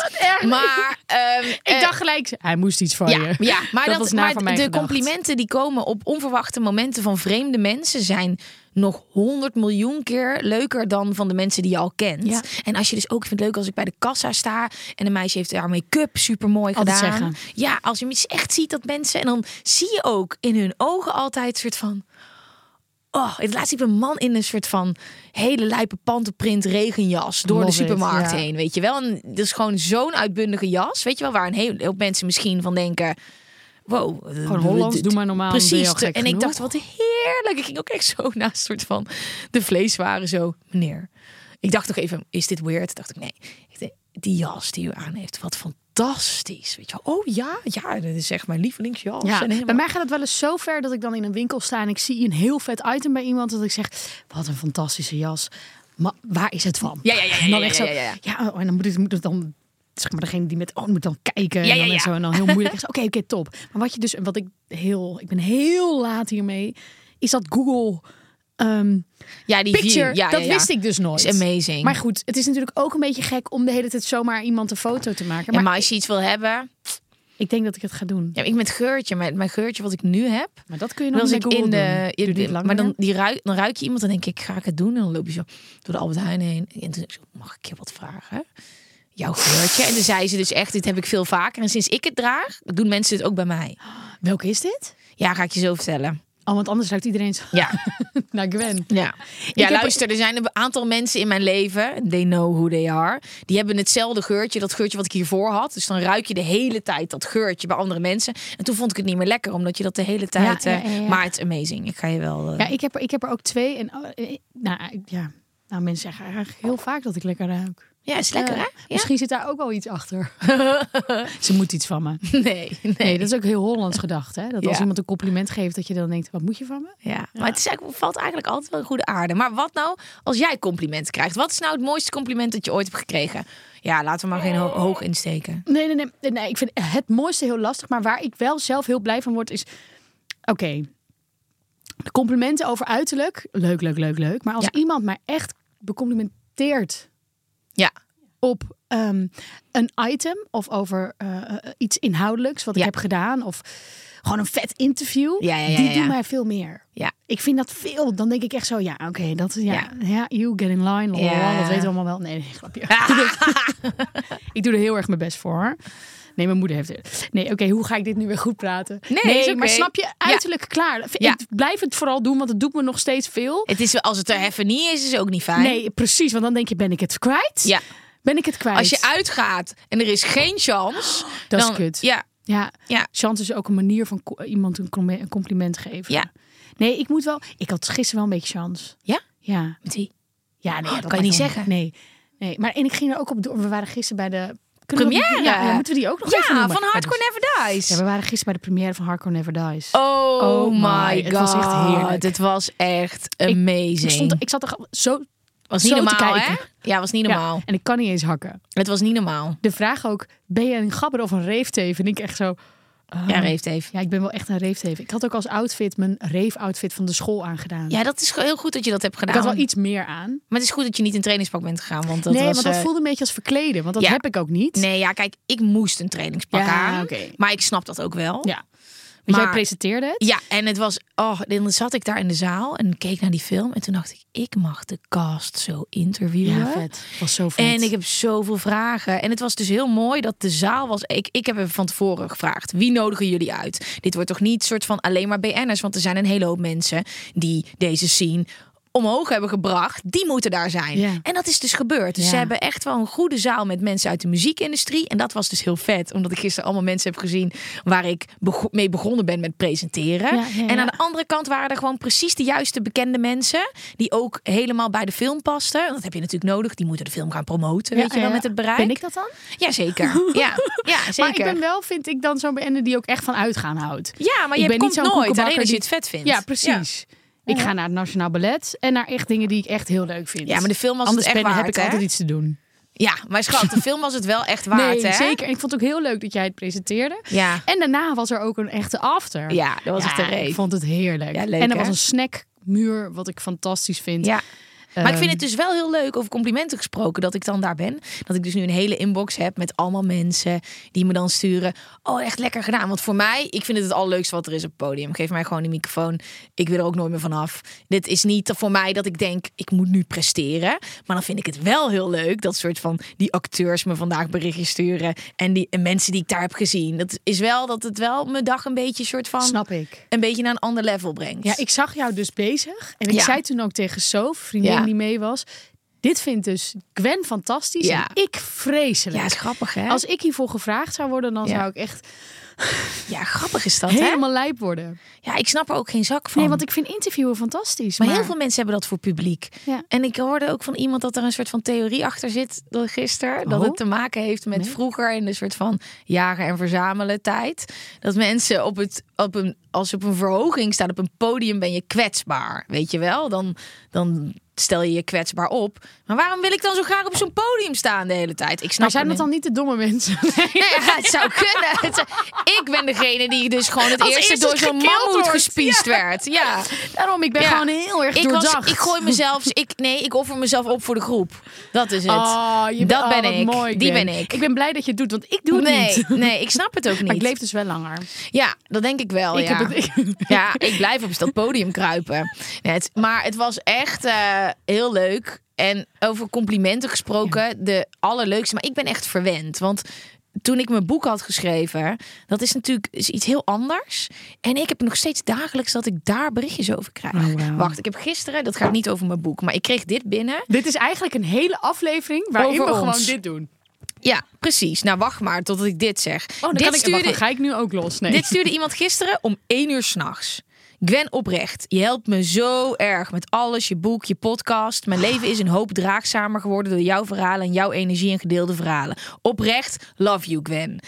Maar ehm,
ik
eh,
dacht gelijk, hij moest iets van
Ja,
je.
ja maar, dat
was naar
maar
van
de
mij gedacht.
complimenten die komen op onverwachte momenten van vreemde mensen zijn nog honderd miljoen keer leuker dan van de mensen die je al kent.
Ja.
En als je dus ook ik vind het leuk als ik bij de kassa sta en een meisje heeft haar make-up super mooi
Altijd
gedaan.
zeggen.
Ja, als je iets echt ziet dat mensen en dan zie je ook in hun ogen altijd een soort van Oh, het laatst liep een man in een soort van hele lijpe pantenprint regenjas door
Love
de supermarkt
it, ja.
heen, weet je wel? En dat is gewoon zo'n uitbundige jas, weet je wel? Waar een heel, heel mensen misschien van denken, wow. eh,
Gewoon Hollands, doe maar normaal, dan ben je
Precies.
al gek
en ik
genoeg.
dacht, wat heerlijk. Ik ging ook echt zo naast een soort van de vleeswaren zo, meneer. Ik dacht nog even, is dit weird? Dacht ik, nee. Ik dacht, Die jas die u aan heeft, wat fantastisch. Weet je wel? Oh ja, ja, dat is echt mijn lievelingsjas. En
Ja,
helemaal-
bij mij gaat het wel eens zo ver dat ik dan in een winkel sta en ik zie een heel vet item bij iemand dat ik zeg, wat een fantastische jas. Maar waar is het van?
Ja, ja, ja, ja,
En dan
ja,
echt
ja,
zo,
ja, ja.
oh, en dan moet het, moet het dan, zeg maar degene die met, oh, moet dan kijken
Ja,
en,
ja,
dan
ja.
en zo en dan heel moeilijk. Ik zeg, Oké, oké, top. Maar wat je dus, en wat ik heel, ik ben heel laat hiermee, is dat Google ehm,
ja, die
Picture,
view. Ja,
dat
ja, ja.
wist ik dus nooit.
Is amazing.
Maar goed, het is natuurlijk ook een beetje gek om de hele tijd zomaar iemand een foto te maken.
Ja,
Maar,
maar als je iets wil hebben,
ik denk dat ik het ga doen.
Ja, maar ik met geurtje, mijn, mijn geurtje wat ik nu heb.
Maar dat kun je
Dan
nog
als
met
ik
Google
in de,
doen. Duurt niet lang
maar dan,
meer.
die ruik, dan ruik je iemand en denk ik, ga ik het doen? En dan loop je zo door de Albert Heijn heen. En toen zei ik zo, mag ik je wat vragen? Jouw geurtje. En toen zei ze dus echt, dit heb ik veel vaker. En sinds ik het draag, doen mensen het ook bij mij.
Welke is dit?
Ja, ga ik je zo vertellen.
Oh, want anders ruikt iedereen zo
Ja,
naar Gwen.
ja. ja
heb-
luister, er zijn een aantal mensen in mijn leven, they know who they are, die hebben hetzelfde geurtje, dat geurtje wat ik hiervoor had. Dus dan ruik je de hele tijd dat geurtje bij andere mensen. En toen vond ik het niet meer lekker, omdat je dat de hele tijd...
ja,
eh,
ja, ja.
Maar het is amazing, ik ga je wel... eh,
Ja, ik heb, er, ik heb er ook twee. En, oh, eh, nou, ik- ja. nou, mensen zeggen eigenlijk heel vaak dat ik lekker ruik.
Ja, is lekker,
Ja.
hè?
eh, Misschien zit daar ook wel iets achter. Ze moet iets van me.
Nee, nee.
Nee, dat is ook heel Hollands gedacht. Hè? Dat
Ja.
als iemand een compliment geeft, dat je dan denkt, wat moet je van me?
Ja. Maar het is eigenlijk, valt eigenlijk altijd wel in goede aarde. Maar wat nou als jij complimenten krijgt? Wat is nou het mooiste compliment dat je ooit hebt gekregen? Ja, laten we maar geen ho- hoog insteken.
Nee, nee, nee, nee. Ik vind het mooiste heel lastig. Maar waar ik wel zelf heel blij van word is... Oké, de complimenten over uiterlijk. Leuk, leuk, leuk, leuk. Maar als
Ja.
iemand mij echt becomplimenteert
Ja.
op ehm, een item... of over eh, eh, iets inhoudelijks wat
Ja.
ik heb gedaan... of gewoon een vet interview...
Ja, ja, ja,
die
ja.
doen mij veel meer.
Ja.
Ik vind dat veel. Dan denk ik echt zo, ja, oké, dat ja,
Ja.
ja. you get in line, lol,
Ja.
dat weten we allemaal wel. Nee, nee grapje. ik doe er heel erg mijn best voor. hoor. Nee, mijn moeder heeft het. Nee, oké, hoe ga ik dit nu weer goed praten?
Nee, is oké.
maar snap je, uiterlijk klaar. Ik
Ja.
blijf het vooral doen, want het doet me nog steeds veel.
Het is, wel- als het er even niet is, is het ook niet fijn.
Nee, precies, want dan denk je, ben ik het kwijt?
Ja.
Ben ik het kwijt?
Als je uitgaat en er is geen chance...
Dat is
dan,
kut.
Ja,
Ja,
Ja.
chance is ook een manier van co- iemand een com- een compliment geven.
Ja.
Nee, ik moet wel... Ik had gisteren wel een beetje chance.
Ja?
Ja.
met die.
Ja, nee,
Oh,
dat
kan je niet
maakt
zeggen.
wel- Nee, nee. maar en ik ging er ook op door. We waren gisteren bij de kunnen we dat-
Première.
ja, ja, moeten we die ook nog
Ja,
even noemen? dus-
van Hardcore Never Dies.
Ja, we waren gisteren bij de première van Hardcore Never Dies.
Oh,
Oh my,
my god.
het was echt heerlijk.
Het was echt amazing.
ik, stond, ik zat er gewoon zo,
was niet
zo
normaal,
te
hè?
kijken.
Ja, was niet normaal.
Ja, en ik kan niet eens hakken.
Het was niet normaal.
De vraag ook, ben je een gabber of een reefteef? En ik echt zo, oh.
Ja, Reef heeft.
ja, ik ben wel echt een reefteef. Ik had ook als outfit mijn reef-outfit van de school aangedaan.
Ja, nou. dat is gewoon heel goed dat je dat hebt
ik
gedaan.
had wel iets meer aan.
Maar het is goed dat je niet in trainingspak bent gegaan. Want dat
nee,
was,
want dat
eh,
voelde een beetje als verkleden. Want dat
ja.
heb ik ook niet.
Nee, ja, kijk, ik moest een trainingspak
Ja,
aan.
oké.
Maar ik snap dat ook wel.
Ja. Want jij
Maar-
presenteerde het.
Ja, en het was. Oh, dan zat ik daar in de zaal en keek naar die film. En toen dacht ik, ik mag de cast zo interviewen.
Was zo vet.
En ik heb zoveel vragen. En het was dus heel mooi dat de zaal was. Ik, ik heb hem van tevoren gevraagd: wie nodigen jullie uit? Dit wordt toch niet soort van alleen maar BN'ers? Want er zijn een hele hoop mensen die deze scene omhoog hebben gebracht. Die moeten daar zijn.
Ja.
En dat is dus gebeurd. Dus
Ja.
ze hebben echt wel een goede zaal met mensen uit de muziekindustrie. En dat was dus heel vet. Omdat ik gisteren allemaal mensen heb gezien waar ik bego- mee begonnen ben met presenteren.
Ja, ja,
En
ja.
aan de andere kant waren er gewoon precies de juiste bekende mensen. Die ook helemaal bij de film pasten. Dat heb je natuurlijk nodig. Die moeten de film gaan promoten. weet je wel, met het bereik.
Ben ik dat dan?
Jazeker. Ja, ja zeker.
Maar ik ben wel, vind ik, dan zo'n BN'er die ook echt van uitgaan houdt.
Ja, maar
ik
je
ben niet
komt
zo'n
nooit.
koekenbakker
Alleen als je
die-
het vet vindt.
Ja, precies. Ik ga naar het Nationaal Ballet en naar echt dingen die ik echt heel leuk vind.
Ja, maar de film was
Anders
het echt
ben-
waard,
heb ik
hè?
altijd iets te doen.
Ja, maar schat, de film was het wel echt waard,
nee,
hè?
zeker. En ik vond het ook heel leuk dat jij het presenteerde.
Ja.
En daarna was er ook een echte after.
Ja, dat was echt een reet.
Ik vond het heerlijk.
Ja, leuk,
en er
hè?
was een snackmuur, wat ik fantastisch vind.
Ja. Maar ik vind het dus wel heel leuk, over complimenten gesproken, dat ik dan daar ben. Dat ik dus nu een hele inbox heb met allemaal mensen die me dan sturen. Oh, echt lekker gedaan. Want voor mij, ik vind het het allerleukste wat er is op het podium. Geef mij gewoon die microfoon. Ik wil er ook nooit meer vanaf. Dit is niet voor mij dat ik denk, ik moet nu presteren. Maar dan vind ik het wel heel leuk dat soort van die acteurs me vandaag berichtjes sturen. En die en mensen die ik daar heb gezien. Dat is wel dat het wel mijn dag een beetje soort van...
Snap ik.
Een beetje naar een ander level brengt.
Ja, ik zag jou dus bezig. En ik
Ja.
zei toen ook tegen Sof, vriendin
Ja.
die mee was. Dit vindt dus Gwen fantasch
Ja.
en ik vreselijk.
ja, is grappig hè?
Als ik hiervoor gevraagd zou worden, dan
Ja.
zou ik echt
Ja, grappig is dat hè?
helemaal lijp worden.
Ja, ik snap er ook geen zak van.
Nee, want ik vind interviewen fantastisch.
maar, heel veel mensen hebben dat voor publiek.
Ja.
En ik hoorde ook van iemand dat er een soort van theorie achter zit door gisteren. Dat
Oh.
het te maken heeft met vroeger in de soort van jagen en verzamelen tijd. Dat mensen op het, op een, als ze op een verhoging staan, op een podium ben je kwetsbaar. Weet je wel? Dan, dan stel je je kwetsbaar op. Maar waarom wil ik dan zo graag op zo'n podium staan de hele tijd? Ik snap
Maar nou, zijn
er
dat
niet.
dan niet de domme mensen?
Nee, ja, het zou kunnen. Het zou- Ik ben degene die dus gewoon het
Als
eerste,
eerste
door zo'n
gekild
mammoet
wordt.
gespiesd werd. Ja.
Daarom, ik ben
Ja.
gewoon heel erg
ik was-
doordacht.
ik gooi mezelf. Ik, nee, ik offer mezelf op voor de groep. Dat is het.
Oh, je bent-
dat
oh,
ben
wat
ik.
mooi,
Die
Gwen.
ben ik.
Ik ben blij dat je het doet, want ik doe het
nee,
niet.
nee, ik snap het ook niet.
Maar ik leef dus wel langer.
Ja, dat denk ik wel.
Ik
ja.
heb het- ik-
ja, ik blijf op dat podium kruipen. Nee, het- maar het was echt eh, heel leuk. En over complimenten gesproken, de allerleukste. Maar ik ben echt verwend. Want toen ik mijn boek had geschreven, dat is natuurlijk is iets heel anders. En ik heb nog steeds dagelijks dat ik daar berichtjes over krijg.
Oh,
Wacht, ik heb gisteren, dat gaat niet over mijn boek, maar ik kreeg dit binnen.
Dit is eigenlijk een hele aflevering waarin
Over
we gewoon
ons.
dit doen.
Ja, precies. Nou, wacht maar totdat ik dit zeg.
Oh, dan
dit
kan ik, wacht, dan ga ik nu ook los. Nee.
Dit stuurde iemand gisteren om 1 uur s'nachts. Gwen oprecht, je helpt me zo erg met alles, je boek, je podcast. Mijn leven is een hoop draagzamer geworden door jouw verhalen en jouw energie en gedeelde verhalen. Oprecht, love you Gwen.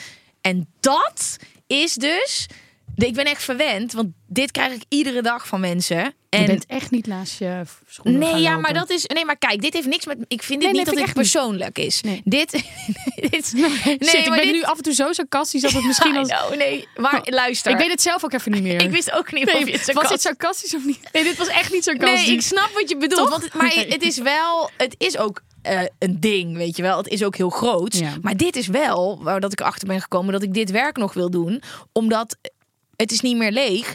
En dat is dus, ik ben echt verwend, want dit krijg ik iedere dag van mensen. En
je bent echt niet naast je schoenen
Nee,
gaan
ja,
lopen.
maar dat is. Nee, maar kijk, dit heeft niks met. Ik vind dit
Nee, nee,
niet dat
vind ik
dit
echt niet.
persoonlijk is.
Nee.
Dit. dit
Shit, ik ben
dit-
nu af en toe zo sarcastisch dat het misschien
I
als... Oh.
know, nee, maar luister.
Ik weet het zelf ook even niet meer.
Ik wist ook niet of je het zo
was
kan.
dit sarcastisch of niet? Nee, dit was echt niet sarcastisch.
Nee, ik snap wat je bedoelt.
Toch?
Want, het- maar
Nee.
het is wel, het is ook eh, een ding, weet je wel. Het is ook heel groot.
Ja.
Maar dit is wel waar dat ik achter ben gekomen dat ik dit werk nog wil doen, omdat het is niet meer leeg.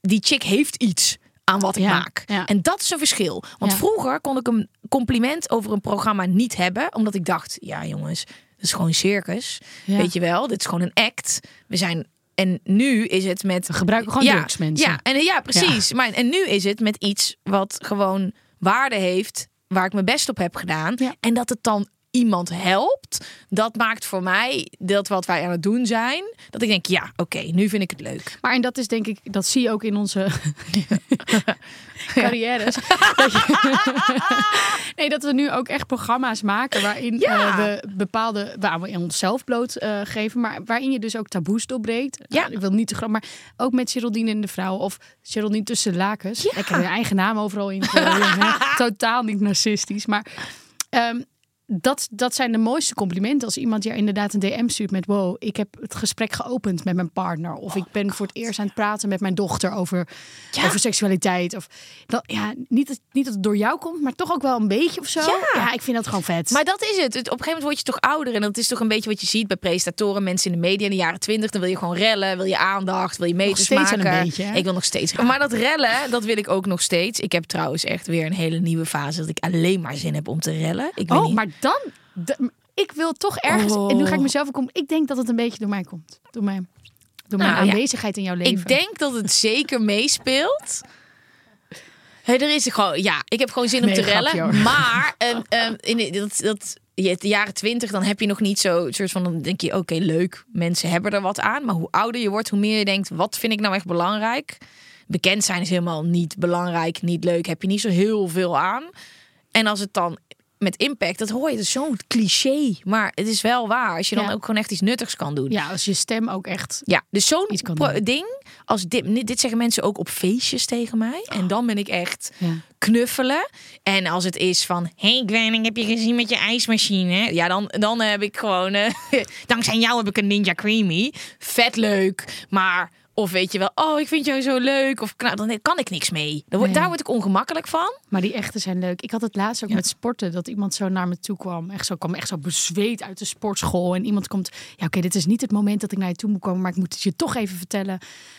Die chick heeft iets aan wat ik
Ja,
maak.
ja.
En dat is een verschil. Want
Ja.
vroeger kon ik een compliment over een programma niet hebben, omdat ik dacht, ja jongens, dat is gewoon circus,
Ja.
weet je wel. Dit is gewoon een act. We zijn en nu is het met
We gebruiken gewoon drugs, mensen.
ja, en, eh, ja precies. Maar, en nu is het met iets wat gewoon waarde heeft, waar ik mijn best op heb gedaan.
Ja.
En dat het dan iemand helpt, dat maakt voor mij dat wat wij aan het doen zijn, dat ik denk, ja, oké, nu vind ik het leuk.
Maar en dat is denk ik, dat zie je ook in onze carrières. Dat je- nee, dat we nu ook echt programma's maken waarin
Ja.
eh, we bepaalde, waar we onszelf blootgeven, geven, maar waarin je dus ook taboes doorbreekt.
Ja.
Nou, ik wil niet te groot, maar ook met Geraldine en de vrouw of Geraldine tussen lakens. eh, Ik heb hun eigen naam overal in. gegooid, hè. Totaal niet narcistisch, maar. ehm, dat, dat zijn de mooiste complimenten. Als iemand je inderdaad een DM stuurt met... wow, ik heb het gesprek geopend met mijn partner. Of ik ben voor het eerst aan het praten met mijn dochter over, over seksualiteit. Of, dat, ja, niet, dat- niet dat het door jou komt, maar toch ook wel een beetje of zo.
Ja.
ik vind dat gewoon vet.
Maar dat is het. het. Op een gegeven moment word je toch ouder. En dat is toch een beetje wat je ziet bij presentatoren, mensen in de media in de jaren twintig. Dan wil je gewoon rellen, wil je aandacht, wil je meters
steeds wel
maken.
een beetje, hè?
Ik wil nog steeds. Maar dat rellen, dat wil ik ook nog steeds. Ik heb trouwens echt weer een hele nieuwe fase dat ik alleen maar zin heb om te rellen. Ik weet
oh,
niet.
maar dan... d- ik wil toch ergens... En nu ga ik
Oh.
mezelf ook om... Ik denk dat het een beetje door mij komt. Door mijn, door mijn
Nou, ja.
aanwezigheid in jouw leven.
Ik denk dat het zeker meespeelt. Hé, er is gewoon, ja, ik heb gewoon zin om
Nee,
te
grapje,
rellen.
hoor.
maar ehm, ehm, in de- dat, dat, je- de jaren twintig, dan heb je nog niet zo soort van, dan denk je, oké, leuk, mensen hebben er wat aan. Maar hoe ouder je wordt, hoe meer je denkt, wat vind ik nou echt belangrijk? Bekend zijn is helemaal niet belangrijk, niet leuk. Heb je niet zo heel veel aan. En als het dan met impact, dat hoor je, dat is zo'n cliché. Maar het is wel waar, als je dan
Ja.
ook gewoon echt iets nuttigs kan doen.
Ja, als je stem ook echt...
Ja, dus zo'n
Iets kan
pro-
doen.
ding als dit, dit zeggen mensen ook op feestjes tegen mij. En dan ben ik echt
Ja.
knuffelen. En als het is van, hey Gwen, ik heb je gezien met je ijsmachine. Ja, dan, dan heb ik gewoon, eh, dankzij jou heb ik een Ninja Creamy. Vet leuk, maar... Of weet je wel, oh, ik vind jou zo leuk. Of nou, dan kan ik niks mee. Dan word,
Nee.
Daar word ik ongemakkelijk van.
Maar die echte zijn leuk. Ik had het laatst ook met sporten dat iemand zo naar me toe kwam. Echt zo kwam echt zo bezweet uit de sportschool. En iemand komt. Ja, oké, dit is niet het moment dat ik naar je toe moet komen. Maar ik moet het je toch even vertellen.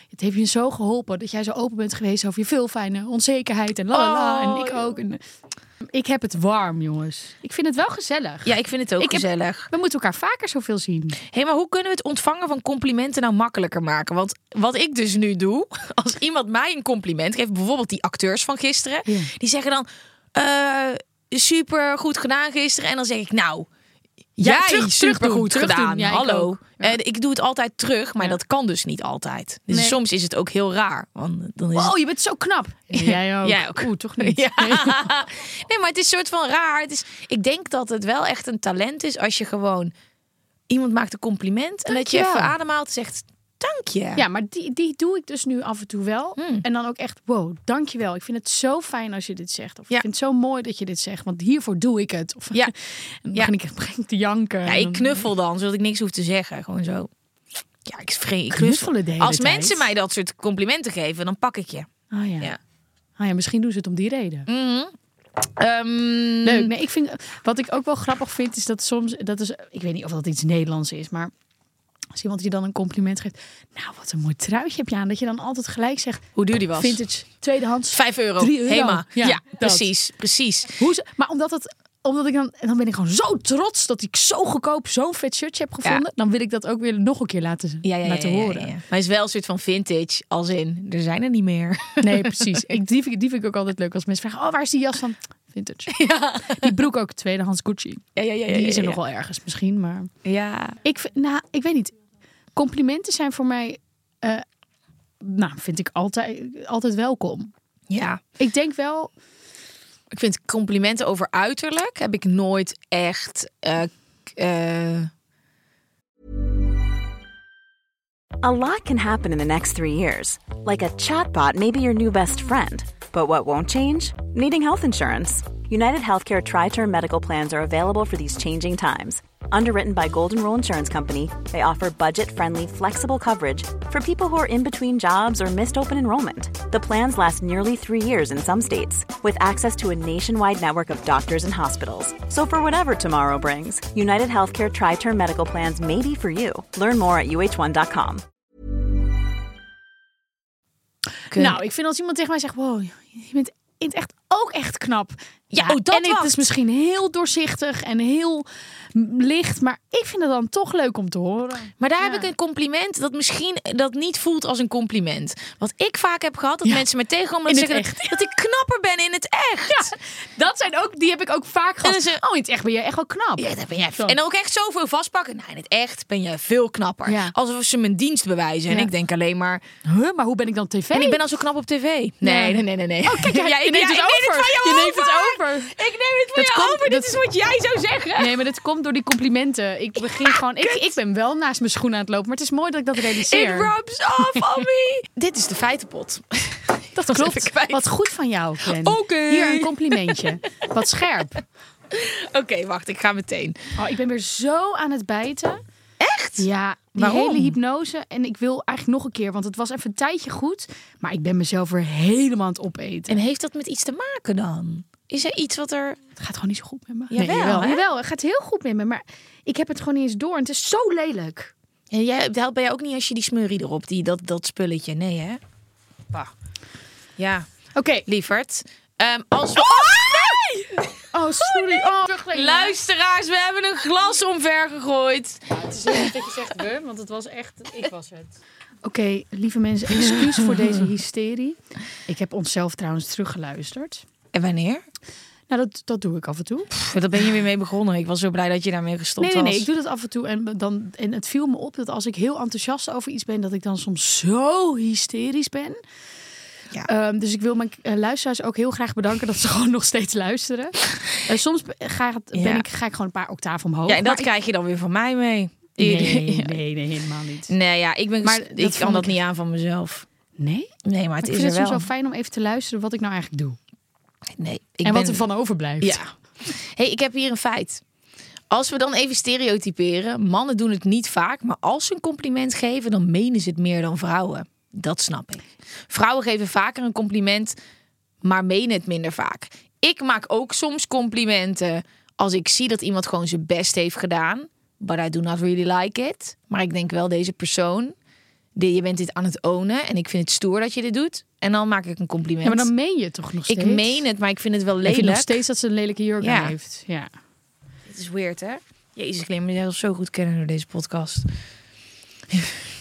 Het heeft je zo geholpen dat jij zo open bent geweest over je veel fijne onzekerheid. En la la la.
Oh,
En ik
joh.
ook. En, eh, ik heb het warm, jongens. Ik vind het wel gezellig.
Ja, ik vind het ook
Ik heb-
gezellig.
We moeten elkaar vaker zoveel zien.
Hé, maar hoe kunnen we het ontvangen van complimenten nou makkelijker maken? Want wat ik dus nu doe, als iemand mij een compliment geeft, bijvoorbeeld die acteurs van gisteren,
Ja.
die zeggen dan: eh, super goed gedaan gisteren. En dan zeg ik: Nou,
Ja,
jij
terug- terug
super goed
doen, terug
gedaan.
doen. Ja, ik
Hallo.
ook. Ja.
Eh, ik doe het altijd terug, maar
Ja.
dat kan dus niet altijd. Dus
Nee.
soms is het ook heel raar. Want dan is het
Oh, je bent zo knap. Jij ook.
Jij ook.
Oeh, toch niet.
ja. Nee, maar het is soort van raar. Het is, ik denk dat het wel echt een talent is als je gewoon iemand maakt een compliment en
Dank
dat je
je
even
wel.
ademhaalt en zegt dank je.
Ja, maar die, die doe ik dus nu af en toe wel.
Hmm.
En dan ook echt, wow, dankjewel. Ik vind het zo fijn als je dit zegt. Of
Ja.
ik vind het zo mooi dat je dit zegt, want hiervoor doe ik het. Of,
Ja.
en dan begin ik, begin ik te janken.
Ja,
En
ik
dan-
knuffel dan zodat ik niks hoef te zeggen, gewoon zo. Ja, ik vrees ik knuffel.
Knuffelen de hele
Als
tijd.
mensen mij dat soort complimenten geven, dan pak ik je.
Oh ja.
Ja. Mm.
Oh ja, misschien doen ze het om die reden.
Ehm,
Leuk. Nee, ik vind, wat ik ook wel grappig vind, is dat soms... Dat is, ik weet niet of dat iets Nederlands is, maar... Als iemand je dan een compliment geeft. Nou, wat een mooi truitje heb je aan. Dat je dan altijd gelijk zegt.
Hoe duur die was?
Vintage, tweedehands.
Vijf euro.
Drie euro.
Hema. Ja,
Ja, dat.
precies, precies.
Hoe ze- maar omdat het omdat ik dan, en dan ben ik gewoon zo trots dat ik zo goedkoop zo'n vet shirtje heb gevonden. Dan wil ik dat ook weer nog een keer laten,
Ja, ja, ja,
laten
ja, ja,
horen.
ja. Maar het is wel een soort van vintage, als in er zijn er niet meer.
Nee, precies. Ik, die, vind, ik- die vind ik ook altijd leuk als mensen vragen: Oh, waar is die jas van? Vintage. Die broek ook, tweedehands Gucci.
Ja, ja, ja, ja,
Die is er
ja,
nog wel ergens misschien. Maar
Ja.
ik, vind- nou, ik weet niet. Complimenten zijn voor mij, eh, nou, vind ik altijd, altijd welkom.
Ja.
Ik denk wel,
Ik vind complimenten over uiterlijk heb ik nooit echt. eh, k- eh,
A lot can happen in the next three years. Like a chatbot may be your new best friend. But what won't change? Needing health insurance. United Healthcare Tri Term Medical Plans are available for these changing times. Underwritten by Golden Rule Insurance Company, they offer budget friendly, flexible coverage for people who are in between jobs or missed open enrollment. The plans last nearly three years in some states, with access to a nationwide network of doctors and hospitals. So, for whatever tomorrow brings, United Healthcare Tri Term Medical Plans may be for you. Learn more at uh1.com.
kun-
nou, ik vind als iemand tegen mij zegt: Wow, je bent in het echt ook echt knap.
Ja, oh, dat
en het
wat.
is misschien heel doorzichtig en heel m- licht, maar ik vind het dan toch leuk om te horen.
maar daar
Ja.
heb ik een compliment dat misschien dat niet voelt als een compliment. Wat ik vaak heb gehad, dat
Ja.
mensen me tegenkomen en
In
zeggen
het
dat, dat ik knapper ben in het echt.
Dat zijn ook, die heb ik ook vaak
En
gehad.
dan ze-
oh, in het echt ben je echt wel knap.
Ja, dat ben jij.
Zo.
En dan ook echt zoveel vastpakken. Nou, in het echt ben jij veel knapper.
Ja.
Alsof ze mijn dienst bewijzen. En
Ja.
ik denk alleen maar.
Huh, maar hoe ben ik dan tv?
En ik ben al zo knap op tv. Nee, nee,
Nee. Oh,
nee, nee. nee.
kijk, jij- je neemt het over.
van jou
Je neemt het over.
Ik neem het van
Dat
jou
komt-
over. Dit
dat-
is wat jij zou zeggen.
Nee, maar dat komt door die complimenten. Ik begin gewoon. Ik, ik ben wel naast mijn schoenen aan het lopen, maar het is mooi dat ik dat realiseer.
It rubs off on me. Dit is de feitenpot.
dat
was even kwijt.
klopt. Wat goed van jou, Glenn.
Oké.
Hier een complimentje. Wat scherp.
Oké, wacht, ik ga meteen.
Oh, ik ben weer zo aan het bijten.
Echt?
Ja, die
Waarom?
hele hypnose. En ik wil eigenlijk nog een keer, want het was even een tijdje goed. Maar ik ben mezelf weer helemaal aan het opeten.
En heeft dat met iets te maken dan? Is er iets wat er...
Het gaat gewoon niet zo goed met me.
Jawel, hè?
jawel, het gaat heel goed met me. Maar ik heb het gewoon niet eens door. En het is zo lelijk.
En jij, het helpt bij jou ook niet als je die smurrie erop, die, dat, dat spulletje. Nee, hè? Bah. Ja,
Oké.
lieverd. Ehm, als we...
Oh, sorry. Oh, nee.
Luisteraars, we hebben een glas omver gegooid.
Het is niet dat je zegt we, want het was echt... Ik was het. Oké, lieve mensen, excuus voor deze hysterie. Ik heb onszelf trouwens teruggeluisterd.
En wanneer?
Nou, dat, dat doe ik af en toe.
Pff, daar ben je weer mee begonnen. Ik was zo blij dat je daarmee gestopt
nee, nee, nee,
was.
ik doe dat af en toe. En, dan, en het viel me op dat als ik heel enthousiast over iets ben, dat ik dan soms zo hysterisch ben.
Ja.
Ehm, dus ik wil mijn eh, luisteraars ook heel graag bedanken dat ze gewoon nog steeds luisteren. Eh, soms be- ga, het- ben
Ja.
ik, ga ik gewoon een paar octaven omhoog.
Ja, en dat
maar
krijg je dan weer van mij mee.
ik-
Ja.
nee, nee, nee, helemaal niet.
Nee, ja, ik, ben,
Maar
maar
dat
ik
vond
kan dat
ik-
niet aan van mezelf.
Nee?
Nee, maar
Ik
het
vind
is
het
er
soms
wel.
wel fijn om even te luisteren wat ik nou eigenlijk doe.
Nee, ik
en
ben...
wat er van overblijft.
Ja. hey, ik heb hier een feit. Als we dan even stereotyperen, mannen doen het niet vaak, maar als ze een compliment geven, dan menen ze het meer dan vrouwen. Dat snap ik. Vrouwen geven vaker een compliment, maar menen het minder vaak. Ik maak ook soms complimenten als ik zie dat iemand gewoon zijn best heeft gedaan. But I do not really like it. Maar ik denk wel deze persoon, die- je bent dit aan het ownen en ik vind het stoer dat je dit doet. En dan maak ik een compliment.
Ja, maar dan meen je het toch nog steeds?
ik meen het, maar ik vind het wel
Ik
lelijk.
vind nog steeds dat ze een lelijke jurk
Ja.
aan heeft. Ja.
Het is weird, hè? Jezus, ik leer mezelf zo goed kennen door deze podcast.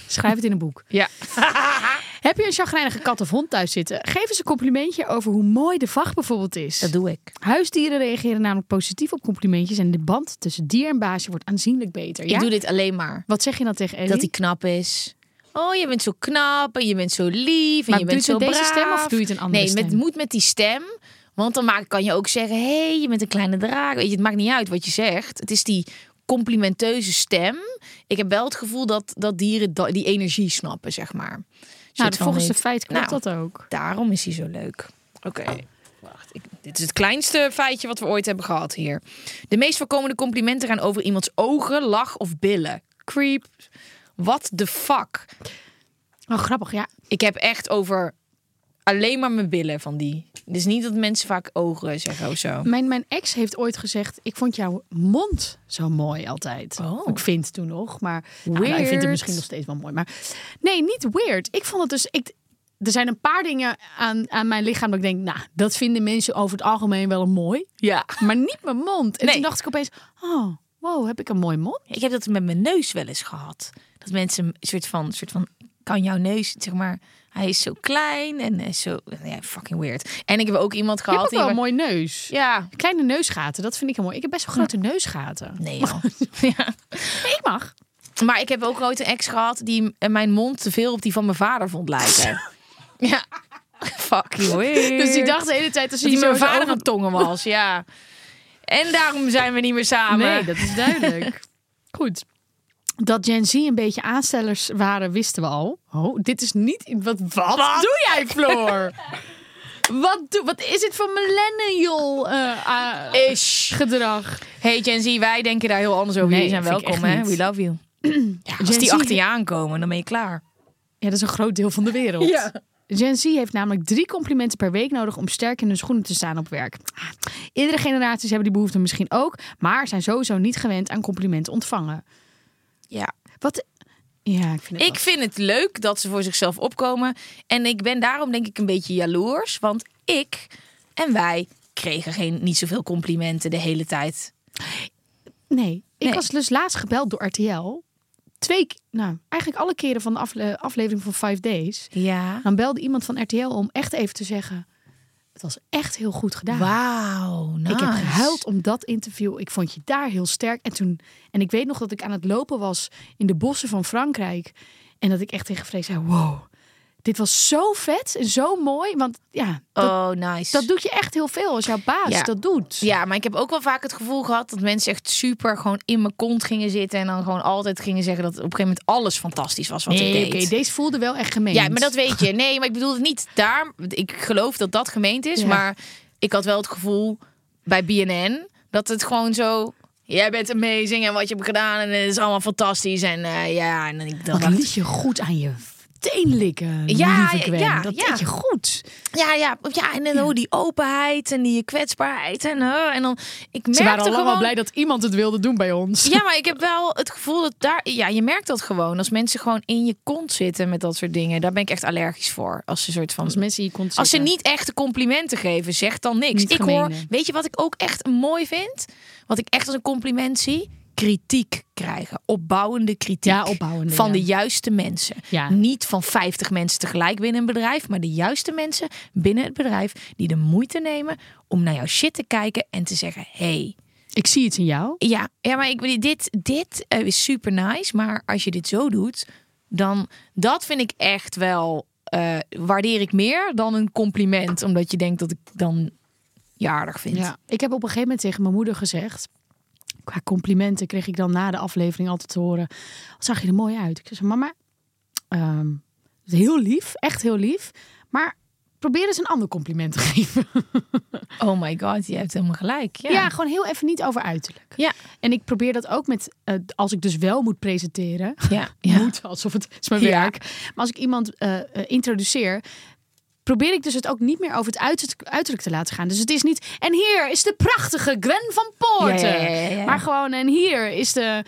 Schrijf het in een boek.
Ja.
Heb je een chagrijnige kat of hond thuis zitten? Geef eens een complimentje over hoe mooi de vacht bijvoorbeeld is.
Dat doe ik.
Huisdieren reageren namelijk positief op complimentjes en de band tussen dier en baasje wordt aanzienlijk beter. Ja?
Ik doe dit alleen maar.
Wat zeg je dan tegen Ellie?
Dat hij knap is. Oh, je bent zo knap en je bent zo lief en
Maar doe
je bent
je
zo
het met
braaf.
deze stem of doe je het een andere
nee,
stem?
met, moet met die stem. Want dan maak, kan je ook zeggen, hey, je bent een kleine draak. Weet je, het maakt niet uit wat je zegt. Het is die complimenteuze stem. Ik heb wel het gevoel dat, dat dieren da- die energie snappen, zeg maar.
nou,
Soort van
volgens de
dit-
feit klopt
Nou,
dat ook.
Daarom is hij zo leuk. Oké,
Oh.
wacht. Ik, dit is het kleinste feitje wat we ooit hebben gehad hier. De meest voorkomende complimenten gaan over iemands ogen, lach of billen. Creep. What the fuck?
Oh, grappig, ja.
Ik heb echt over alleen maar mijn billen van die. Dus niet dat mensen vaak ogen zeggen of zo.
Mijn, mijn ex heeft ooit gezegd, ik vond jouw mond zo mooi altijd.
Oh.
Ik vind toen nog, maar nou, nou, ik vind het
Weird.
misschien nog steeds wel mooi. Maar nee, niet weird. Ik vond het dus... Ik, er zijn een paar dingen aan, aan mijn lichaam dat ik denk, nou, dat vinden mensen over het algemeen wel mooi.
Ja.
Maar niet mijn mond. En
Nee.
toen dacht ik opeens, oh, wow, heb ik een mooi mond?
Ik heb dat met mijn neus wel eens gehad. Dat mensen een soort van, soort van kan jouw neus, zeg maar, hij is zo klein en hij is zo, ja, fucking weird. En ik heb ook iemand
Je hebt
gehad
ook wel een
die,
mooi neus.
ja,
Kleine neusgaten, dat vind ik heel mooi. Ik heb best wel grote neusgaten.
Nee, joh. ja.
Nee, ik mag.
Maar ik heb ook ooit een ex gehad die m- mijn mond te veel op die van mijn vader vond lijken. ja. Fuck you.
Dus ik dacht de hele tijd als
dat
hij
hij
zo
mijn vader
over-
een tongen was. Ja. En daarom zijn we niet meer samen.
Nee, dat is duidelijk. Goed. Dat Gen Z een beetje aanstellers waren, wisten we al. Oh, dit is niet... Wat, wat, doe jij, Floor? wat, doe, wat is dit voor millennial eh, ah,
Ish.
gedrag?
Hey Gen Z, wij denken daar heel anders over.
Nee,
Jullie zijn
vind ik
welkom,
echt
hè?
niet.
We love you. ja, als
Gen Z-
die achter je aankomen, dan ben je klaar.
Ja, dat is een groot deel van de wereld.
Ja.
Gen Z heeft namelijk drie complimenten per week nodig om sterk in hun schoenen te staan op werk. Ah, Iedere generaties hebben die behoefte misschien ook, maar zijn sowieso niet gewend aan complimenten ontvangen.
Ja.
Wat? Ja, ik vind het
Ik vind het leuk dat ze voor zichzelf opkomen. En ik ben daarom denk ik een beetje jaloers. Want ik en wij kregen geen, niet zoveel complimenten de hele tijd.
wel- Nee, ik
Nee.
was dus laatst gebeld door RTL. Twee, k- nou, eigenlijk alle keren van de afle- aflevering van Five Days.
Ja.
Dan belde iemand van RTL om echt even te zeggen: het was echt heel goed gedaan.
Wauw, nice.
Ik heb gehuild om dat interview. Ik vond je daar heel sterk. En, toen, en ik weet nog dat ik aan het lopen was in de bossen van Frankrijk. En dat ik echt tegen Freek zei: Wow, dit was zo vet en zo mooi. Want ja, dat,
Oh, nice.
dat doet je echt heel veel als jouw baas
Ja.
dat doet.
ja, maar ik heb ook wel vaak het gevoel gehad dat mensen echt super gewoon in mijn kont gingen zitten. En dan gewoon altijd gingen zeggen dat op een gegeven moment alles fantastisch was wat
Nee,
ik
oké,
deed.
deze voelde wel echt gemeen.
ja, maar dat weet je. Nee, maar ik bedoel het niet daar. Ik geloof dat dat gemeend is.
Ja.
Maar ik had wel het gevoel bij BNN Dat het gewoon zo... Jij bent amazing en wat je hebt gedaan en het is allemaal fantastisch. En eh, ja, en ik dacht...
Dat liet je goed aan je teen likken,
Ja,
lieve Gwen.
ja,
dat
ja.
deed je goed.
Ja, ja, ja en dan hoe die openheid en die kwetsbaarheid. En, eh, en dan, ik merkte
Ze waren al lang
gewoon...
wel blij dat iemand het wilde doen bij ons.
Ja, maar ik heb wel het gevoel dat daar... Ja, je merkt dat gewoon. Als mensen gewoon in je kont zitten met dat soort dingen. Daar ben ik echt allergisch voor. Als ze een soort van...
Als mensen je kon
Als ze niet echte complimenten geven, zeg dan niks.
Niet
ik hoor,
gemene.
weet je wat ik ook echt mooi vind? Wat ik echt als een compliment zie? Kritiek krijgen. Opbouwende kritiek.
Ja, opbouwende,
Van
ja.
de juiste mensen.
Ja.
Niet van 50 mensen tegelijk binnen een bedrijf, maar de juiste mensen binnen het bedrijf die de moeite nemen om naar jouw shit te kijken en te zeggen: Hey,
Ik zie het in jou.
ja, ja maar ik, bedoel, dit, dit eh, is super nice. Maar als je dit zo doet, dan dat vind ik echt wel. eh, waardeer ik meer dan een compliment. Omdat je denkt dat ik dan je aardig vind.
Ja. Ik heb op een gegeven moment tegen mijn moeder gezegd. Qua complimenten kreeg ik dan na de aflevering altijd te horen. "Wat Zag je er mooi uit? Ik zei, mama, ehm, het is heel lief, echt heel lief. Maar probeer eens een ander compliment te geven.
Oh my god, je hebt helemaal gelijk. Ja,
Ja, gewoon heel even niet over uiterlijk.
ja,
En ik probeer dat ook met, eh, als ik dus wel moet presenteren.
ja. ja.
Moet, alsof het is mijn
Ja.
werk. Maar als ik iemand eh, eh, introduceer, probeer ik dus het ook niet meer over het uiterlijk, uiterlijk te laten gaan. Dus het is niet, en hier is de prachtige Gwen van Poorten.
Ja, ja, ja, ja, ja.
Maar gewoon, en hier is de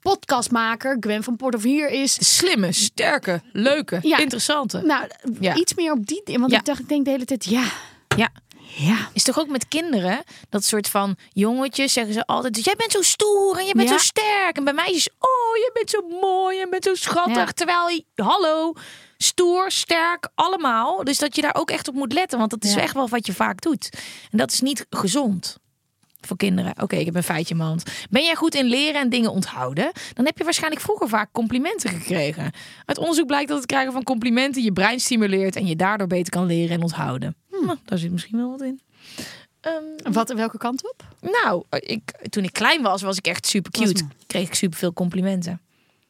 podcastmaker Gwen van Poorten. Of hier is...
Slimme, sterke, leuke,
Ja.
interessante.
Nou,
Ja.
iets meer op die... Want
Ja.
ik dacht, ik denk de hele tijd, ja,
Ja.
ja.
Is toch ook met kinderen dat soort van jongetjes zeggen ze altijd: "Dus Jij bent zo stoer en je bent
Ja.
zo sterk. En bij meisjes: Oh, je bent zo mooi en bent zo schattig.
Ja.
Terwijl, hallo, stoer, sterk, allemaal. Dus dat je daar ook echt op moet letten, want dat is
Ja.
echt wel wat je vaak doet. En dat is niet gezond. Voor kinderen. Oké, ik heb een feitje in mijn hand. Ben jij goed in leren en dingen onthouden? Dan heb je waarschijnlijk vroeger vaak complimenten gekregen. Uit onderzoek blijkt dat het krijgen van complimenten je brein stimuleert en je daardoor beter kan leren en onthouden.
Hm.
Nou, daar zit misschien wel wat in. Ehm,
Wat, welke kant op?
nou, ik, toen ik klein was, was ik echt super
Was
cute. Kreeg ik super veel complimenten.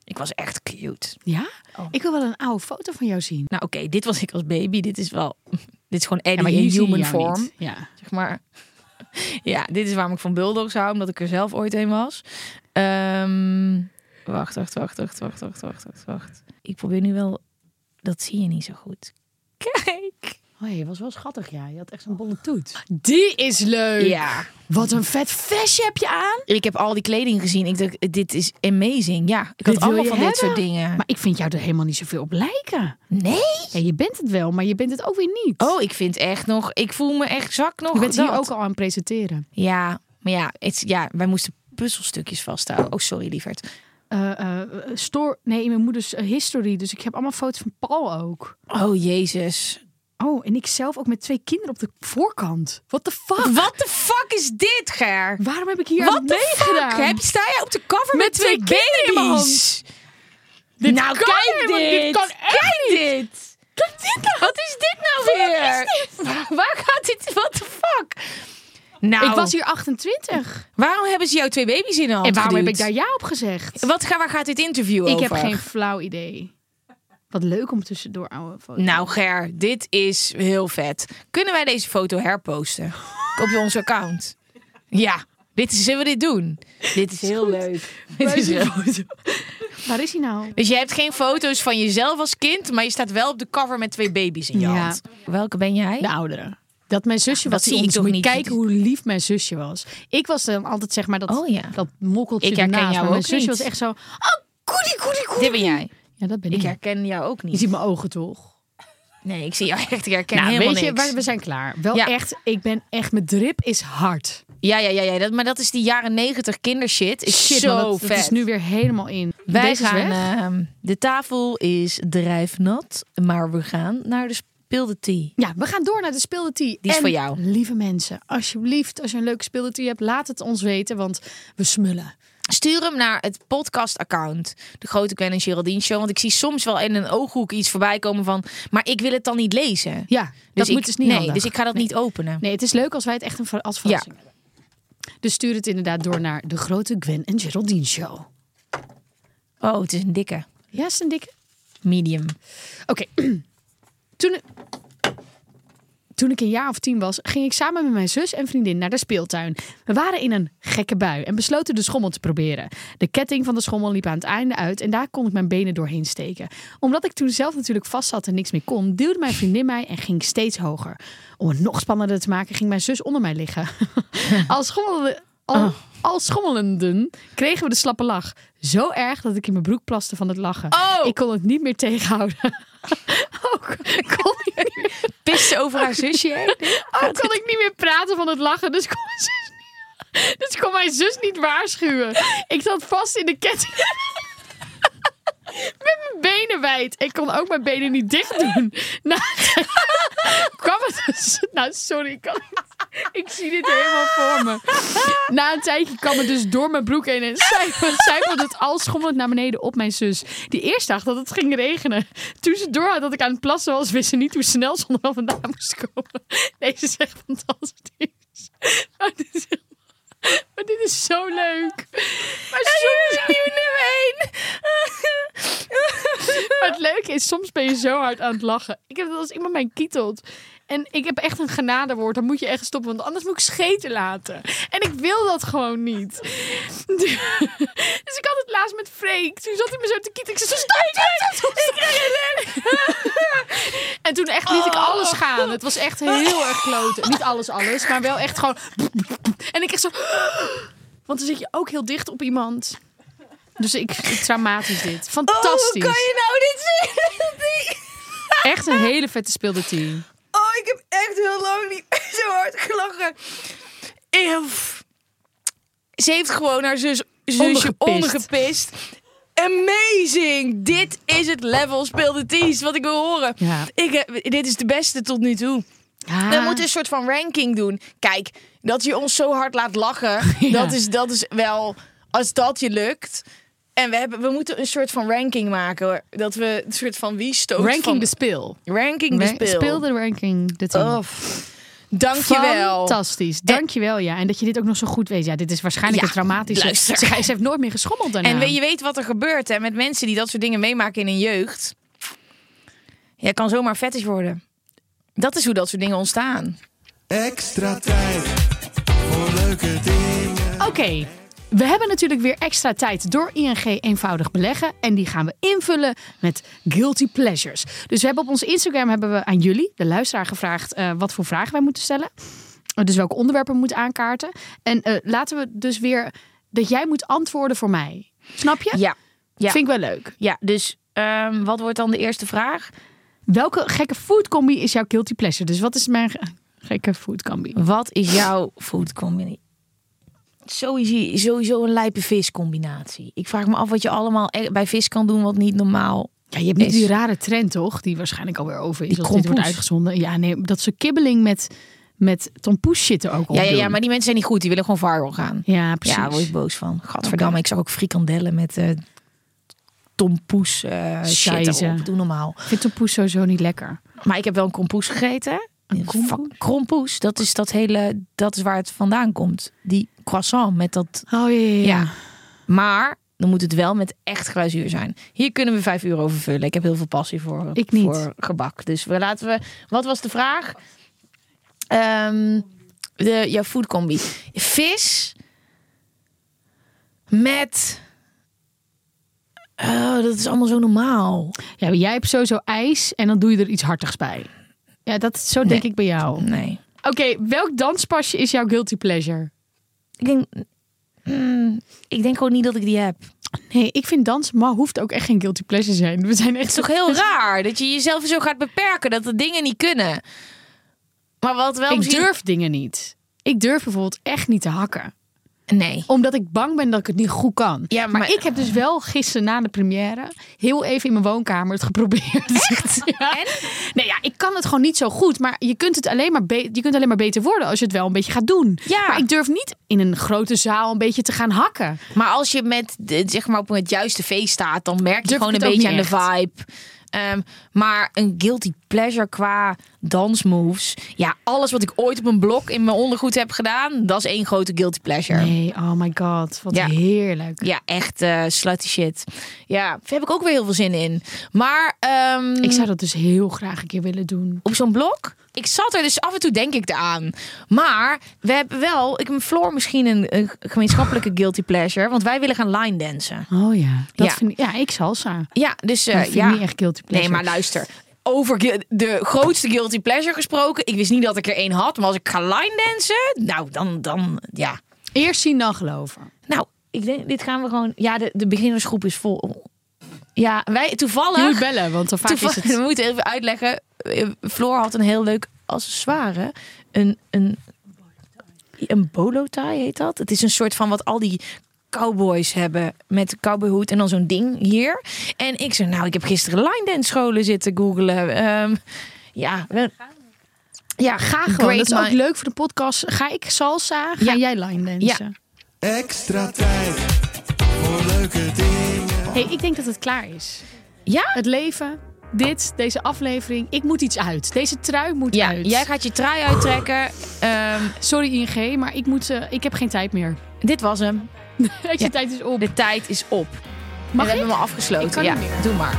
Ik was echt cute.
Ja?
Oh.
Ik wil wel een oude foto van jou zien.
Nou, oké, dit was ik als baby. Dit is wel. Dit is gewoon
Ja,
Eddie
maar
in
hier zie je
human
jou
form.
niet. Ja.
Zeg maar. Ja, dit is waarom ik van Bulldogs hou, omdat ik er zelf ooit een was. Ehm, wacht, wacht, wacht, wacht, wacht, wacht, wacht, wacht, wacht. Ik probeer nu wel. Dat zie je niet zo goed. Kijk.
Oh, je was wel schattig, ja. Je had echt zo'n bolle toet. Die is leuk.
Ja.
Wat een vet vestje heb je aan.
Ik heb al die kleding gezien. Ik dacht, dit is amazing. Ja, ik had
Dit wil
allemaal
je
van dit soort
hebben?
dingen.
Maar ik vind jou er helemaal niet zoveel op lijken.
nee.
Ja, je bent het wel, maar je bent het ook weer niet.
Oh, ik vind echt nog. Ik voel me echt zak nog.
je bent hier
dat.
ook al aan het presenteren.
Ja, maar ja, het, ja, wij moesten puzzelstukjes vasthouden. Oh, sorry, lieverd.
Eh, eh, eh, store, nee, in mijn moeders eh, history. Dus ik heb allemaal foto's van Paul ook.
Oh, Jezus.
Oh, en ik zelf ook met twee kinderen op de voorkant. What the fuck?
Ah, Wat de fuck is dit, Ger?
Waarom heb ik hier
Wat
aan
de fuck?
meegedaan?
Heb, sta jij op de cover met,
Met
twee,
twee
kinderen in mijn hand?
baby's?
nou,
kan
kijk
helemaal
dit.
niet. Dit kan
kijk dit. Wat is dit nou weer? Waar gaat dit? What the fuck? Nou,
Ik was hier 28.
waarom hebben ze jou twee baby's in de hand
En waarom heb ik
geduwd?
daar ja op gezegd?
Wat, ga- waar gaat dit interview
Ik
over?
heb geen flauw idee. Wat leuk om tussendoor oude foto's.
Nou Ger, dit is heel vet. Kunnen wij deze foto herposten op onze account? Ja, dit is, zullen we dit doen? Dit is heel leuk. Dit is heel...
Waar is hij nou?
Dus je hebt geen foto's van jezelf als kind, maar je staat wel op de cover met twee baby's in je
Ja.
hand. Nou, Welke ben jij?
De oudere. Dat mijn zusje
dat
was.
zie
die
ik
ons
toch
moet
niet.
kijken hoe lief mijn zusje was. Ik was dan altijd zeg maar dat,
Oh ja.
dat mokkeltje
Ik herken
ernaast,
jou
maar mijn
ook
zusje
niet.
was echt zo... Oh, koedie, koedie, koedie.
Dit ben jij.
Ja, dat ben ik.
Ik herken jou ook
Je
niet.
ziet mijn ogen toch?
Nee, ik zie jou echt. Ik herken
nou,
helemaal
weet je,
niks.
we- we zijn klaar. Wel
Ja.
echt, ik ben echt, mijn drip is hard.
Ja, ja, ja, ja dat, maar dat is die jaren negentig kindershit. Is
Shit,
zo
maar dat,
vet.
dat is nu weer helemaal in.
Wij
Deze
gaan,
is weg.
ehm, de tafel is drijfnat, maar we gaan naar de speelde thee.
Ja, we gaan door naar de speelde tea.
Die is
En,
voor jou.
lieve mensen, alsjeblieft, als je een leuke speelde tea hebt, laat het ons weten, want we smullen.
Stuur hem naar het podcast-account, de Grote Gwen en Geraldine Show. Want ik zie soms wel in een ooghoek iets voorbij komen van, maar ik wil het dan niet lezen.
Ja, dat
ik,
moet dus niet
Nee,
handig.
dus ik ga dat niet openen.
Nee, het is leuk als wij het echt een ver- als verrassing hebben. Dus stuur het inderdaad door naar de grote Gwen en Geraldine show.
Oh, het is een dikke
Ja, is een dikke.
medium.
Oké. Toen, toen ik een jaar of tien was, ging ik samen met mijn zus en vriendin naar de speeltuin. We waren in een gekke bui en besloten de schommel te proberen. De ketting van de schommel liep aan het einde uit en daar kon ik mijn benen doorheen steken. Omdat ik toen zelf natuurlijk vast zat en niks meer kon, duwde mijn vriendin mij en ging ik steeds hoger. Om het nog spannender te maken, ging mijn zus onder mij liggen. Als schommelde. Al, al schommelenden kregen we de slappe lach. Zo erg dat ik in mijn broek plaste van het lachen.
Oh!
Ik kon het niet meer tegenhouden. Ook kon ik niet meer
Pist ze over haar zusje heen?
ook kon Oh, ik niet meer praten van het lachen, dus kon mijn zus niet, dus kon mijn zus niet waarschuwen. Ik zat vast in de ketting. Met mijn benen wijd. Ik kon ook mijn benen niet dicht doen. Nou, kwam het dus... Nou, sorry. Ik, kan niet- ik zie dit helemaal voor me. Na een tijdje kwam het dus door mijn broek heen en zijpelde zijpelde het al schommelend naar beneden op mijn zus. Die eerst dacht dat het ging regenen. Toen ze door had dat ik aan het plassen was, wist ze niet hoe snel ze onderal vandaan moest komen. Deze is echt fantastisch. Maar Oh, dit is, helemaal- maar dit is zo leuk. Maar soms is nieuw nummer 1. Maar het leuke is, soms ben je zo hard aan het lachen. Ik heb dat als iemand mij kietelt. En ik heb echt een genadewoord. Dan moet je echt stoppen, want anders moet ik scheten laten. En ik wil dat gewoon niet. Dus ik had het laatst met Freek. Toen zat hij me zo te kietelen. Ik zei, stop, stop, stop, stop. En toen echt liet ik alles gaan. Het was echt heel erg kloten. Niet alles, alles. Maar wel echt gewoon... En ik echt zo... Want dan zit je ook heel dicht op iemand. Dus ik... Traumatisch dit. Fantastisch.
Oh, kan je nou dit zien?
Echt een hele vette speelde team.
Oh, ik heb echt heel lang niet meer zo hard gelachen.
Eeuw. Ze heeft gewoon haar zus, zusje
Ondergepist.
ondergepist. Amazing! Dit is het level speel de tees wat ik wil horen.
Ja. Ah.
Ik heb, dit is de beste tot nu toe.
Ja.
We moeten een soort van ranking doen. Kijk, dat je ons zo hard laat lachen,
Ja.
dat, is, dat is wel... Als dat je lukt... En we, hebben, we moeten een soort van ranking maken. hoor. Dat we een soort van wie stoot van...
ranking de speel.
ranking de speel.
Speel de ranking de team.
Oh, Dankjewel.
Fantastisch. Dankjewel, ja. En dat je dit ook nog zo goed weet. Ja, dit is waarschijnlijk
Ja,
een traumatische...
luister.
Ze, ze heeft nooit meer geschommeld daarna.
En weet, je weet wat er gebeurt hè, met mensen die dat soort dingen meemaken in hun jeugd. Jij kan zomaar fetish worden. Dat is hoe dat soort dingen ontstaan.
Extra tijd voor leuke dingen.
Oké, we hebben natuurlijk weer extra tijd door ING eenvoudig beleggen. En die gaan we invullen met guilty pleasures. Dus we hebben op ons Instagram hebben we aan jullie, de luisteraar, gevraagd eh, wat voor vragen wij moeten stellen. Eh, Dus welke onderwerpen we moeten aankaarten. En eh, laten we dus weer dat jij moet antwoorden voor mij. Snap je?
Ja. ja.
Vind ik wel leuk.
Ja, dus ehm, wat wordt dan de eerste vraag?
Welke gekke foodcombi is jouw guilty pleasure? Dus wat is mijn ge- gekke foodcombi?
Wat is jouw food combinatie? Sowieso, sowieso een lijpe viscombinatie. Ik vraag me af wat je allemaal e- bij vis kan doen wat niet normaal.
Ja, je hebt nu
Is-
die rare trend, toch? Die waarschijnlijk alweer over is
Die
als dit wordt
krompoes.
uitgezonden. Ja, nee, dat ze kibbeling met, met tompoes zitten ook op
Ja, ja, ja, maar die mensen zijn niet goed. Die willen gewoon viral gaan.
Ja, precies.
Ja, daar word ik boos van. Gadverdamme, ik zag ook frikandellen met eh tompoes eh shit
Scheisse.
erop. Doe normaal.
Ik vind tompoes sowieso niet lekker.
Maar ik heb wel een kompoes gegeten. Een
kompoes?
Krompoes, dat is dat hele, dat is waar het vandaan komt. Die croissant met dat,
Oh ja, ja,
ja. Maar dan moet het wel met echt glazuur zijn. Hier kunnen we vijf uur over vullen. Ik heb heel veel passie voor,
Ik niet.
voor gebak. Dus we laten we, wat was de vraag? Ehm de, jouw foodcombi. Vis met... Oh, dat is allemaal zo normaal.
Ja, maar jij hebt sowieso ijs en dan doe je er iets hartigs bij. Ja, dat zo denk ik bij jou.
Nee.
Oké, welk danspasje is jouw guilty pleasure?
Ik denk, mm, ik denk gewoon niet dat ik die heb.
Nee, ik vind dansen, maar hoeft ook echt geen guilty pleasure zijn. We zijn echt
Het is toch heel raar dat je jezelf zo gaat beperken dat de dingen niet kunnen. Maar wat wel
Ik
misschien-
durf dingen niet. Ik durf bijvoorbeeld echt niet te hakken.
Nee.
Omdat ik bang ben dat ik het niet goed kan.
Ja,
maar,
maar-
ik heb dus wel gisteren na de première heel even in mijn woonkamer het geprobeerd. Ja. Nee, ja, ik kan het gewoon niet zo goed. Maar je kunt het alleen maar, be- je kunt alleen maar beter worden als je het wel een beetje gaat doen.
Ja.
Maar ik durf niet in een grote zaal een beetje te gaan hakken.
Maar als je met, de- zeg maar op het juiste feest staat, dan merk je
Durf ik
gewoon
het
een
ook
beetje aan
niet
de vibe. Ehm, maar een guilty pleasure qua dansmoves. Ja, alles wat ik ooit op een blok in mijn ondergoed heb gedaan, dat is één grote guilty pleasure.
Nee, oh my god, wat
Ja.
heerlijk.
Ja, echt eh slutty shit. Ja, daar heb ik ook weer heel veel zin in. Maar ehm,
Ik zou dat dus heel graag een keer willen doen.
op zo'n blok? ik zat er dus af en toe denk ik eraan. Maar we hebben wel, ik Floor misschien een, een gemeenschappelijke guilty pleasure. Want wij willen gaan line dansen.
Oh ja. Dat
Ja.
Vind ik, ja, ik salsa.
Ja, dus eh,
Dat vind ik
ja.
niet echt guilty pleasure.
Nee, maar luister. Over gui- de grootste guilty pleasure gesproken. Ik wist niet dat ik er één had. Maar als ik ga line dansen, nou dan, dan ja.
Eerst zien dan geloven.
Nou, ik denk, dit gaan we gewoon. Ja, de, de beginnersgroep is vol. Ja, wij
Je moet
toevallig.
bellen, want dan vaak is
toevallig
het...
We moeten even uitleggen. Eh, Floor had een heel leuk accessoire. Een, een, een bolo tie heet dat. Het is een soort van wat al die cowboys hebben met een cowboyhoed en dan zo'n ding hier. En ik zei, nou, ik heb gisteren line dance scholen zitten googelen. Ehm, ja, we- ja, ga gewoon.
Gewoon, dat is
Great
ook
mind-
leuk voor de podcast. Ga ik salsa, ga
Ja.
jij line dansen.
Extra tijd voor leuke dingen.
Hey, ik denk dat het klaar is.
Ja,
Het leven, dit, deze aflevering. Ik moet iets uit. Deze trui moet
ja
uit.
jij gaat je trui uittrekken. Ehm,
Sorry ING, maar ik, moet, eh, ik heb geen tijd meer.
dit was hem.
Deze
Ja.
tijd is op.
De tijd is op.
Mag
we
ik?
hebben hem al afgesloten.
Ik kan
ja,
niet meer.
doe maar.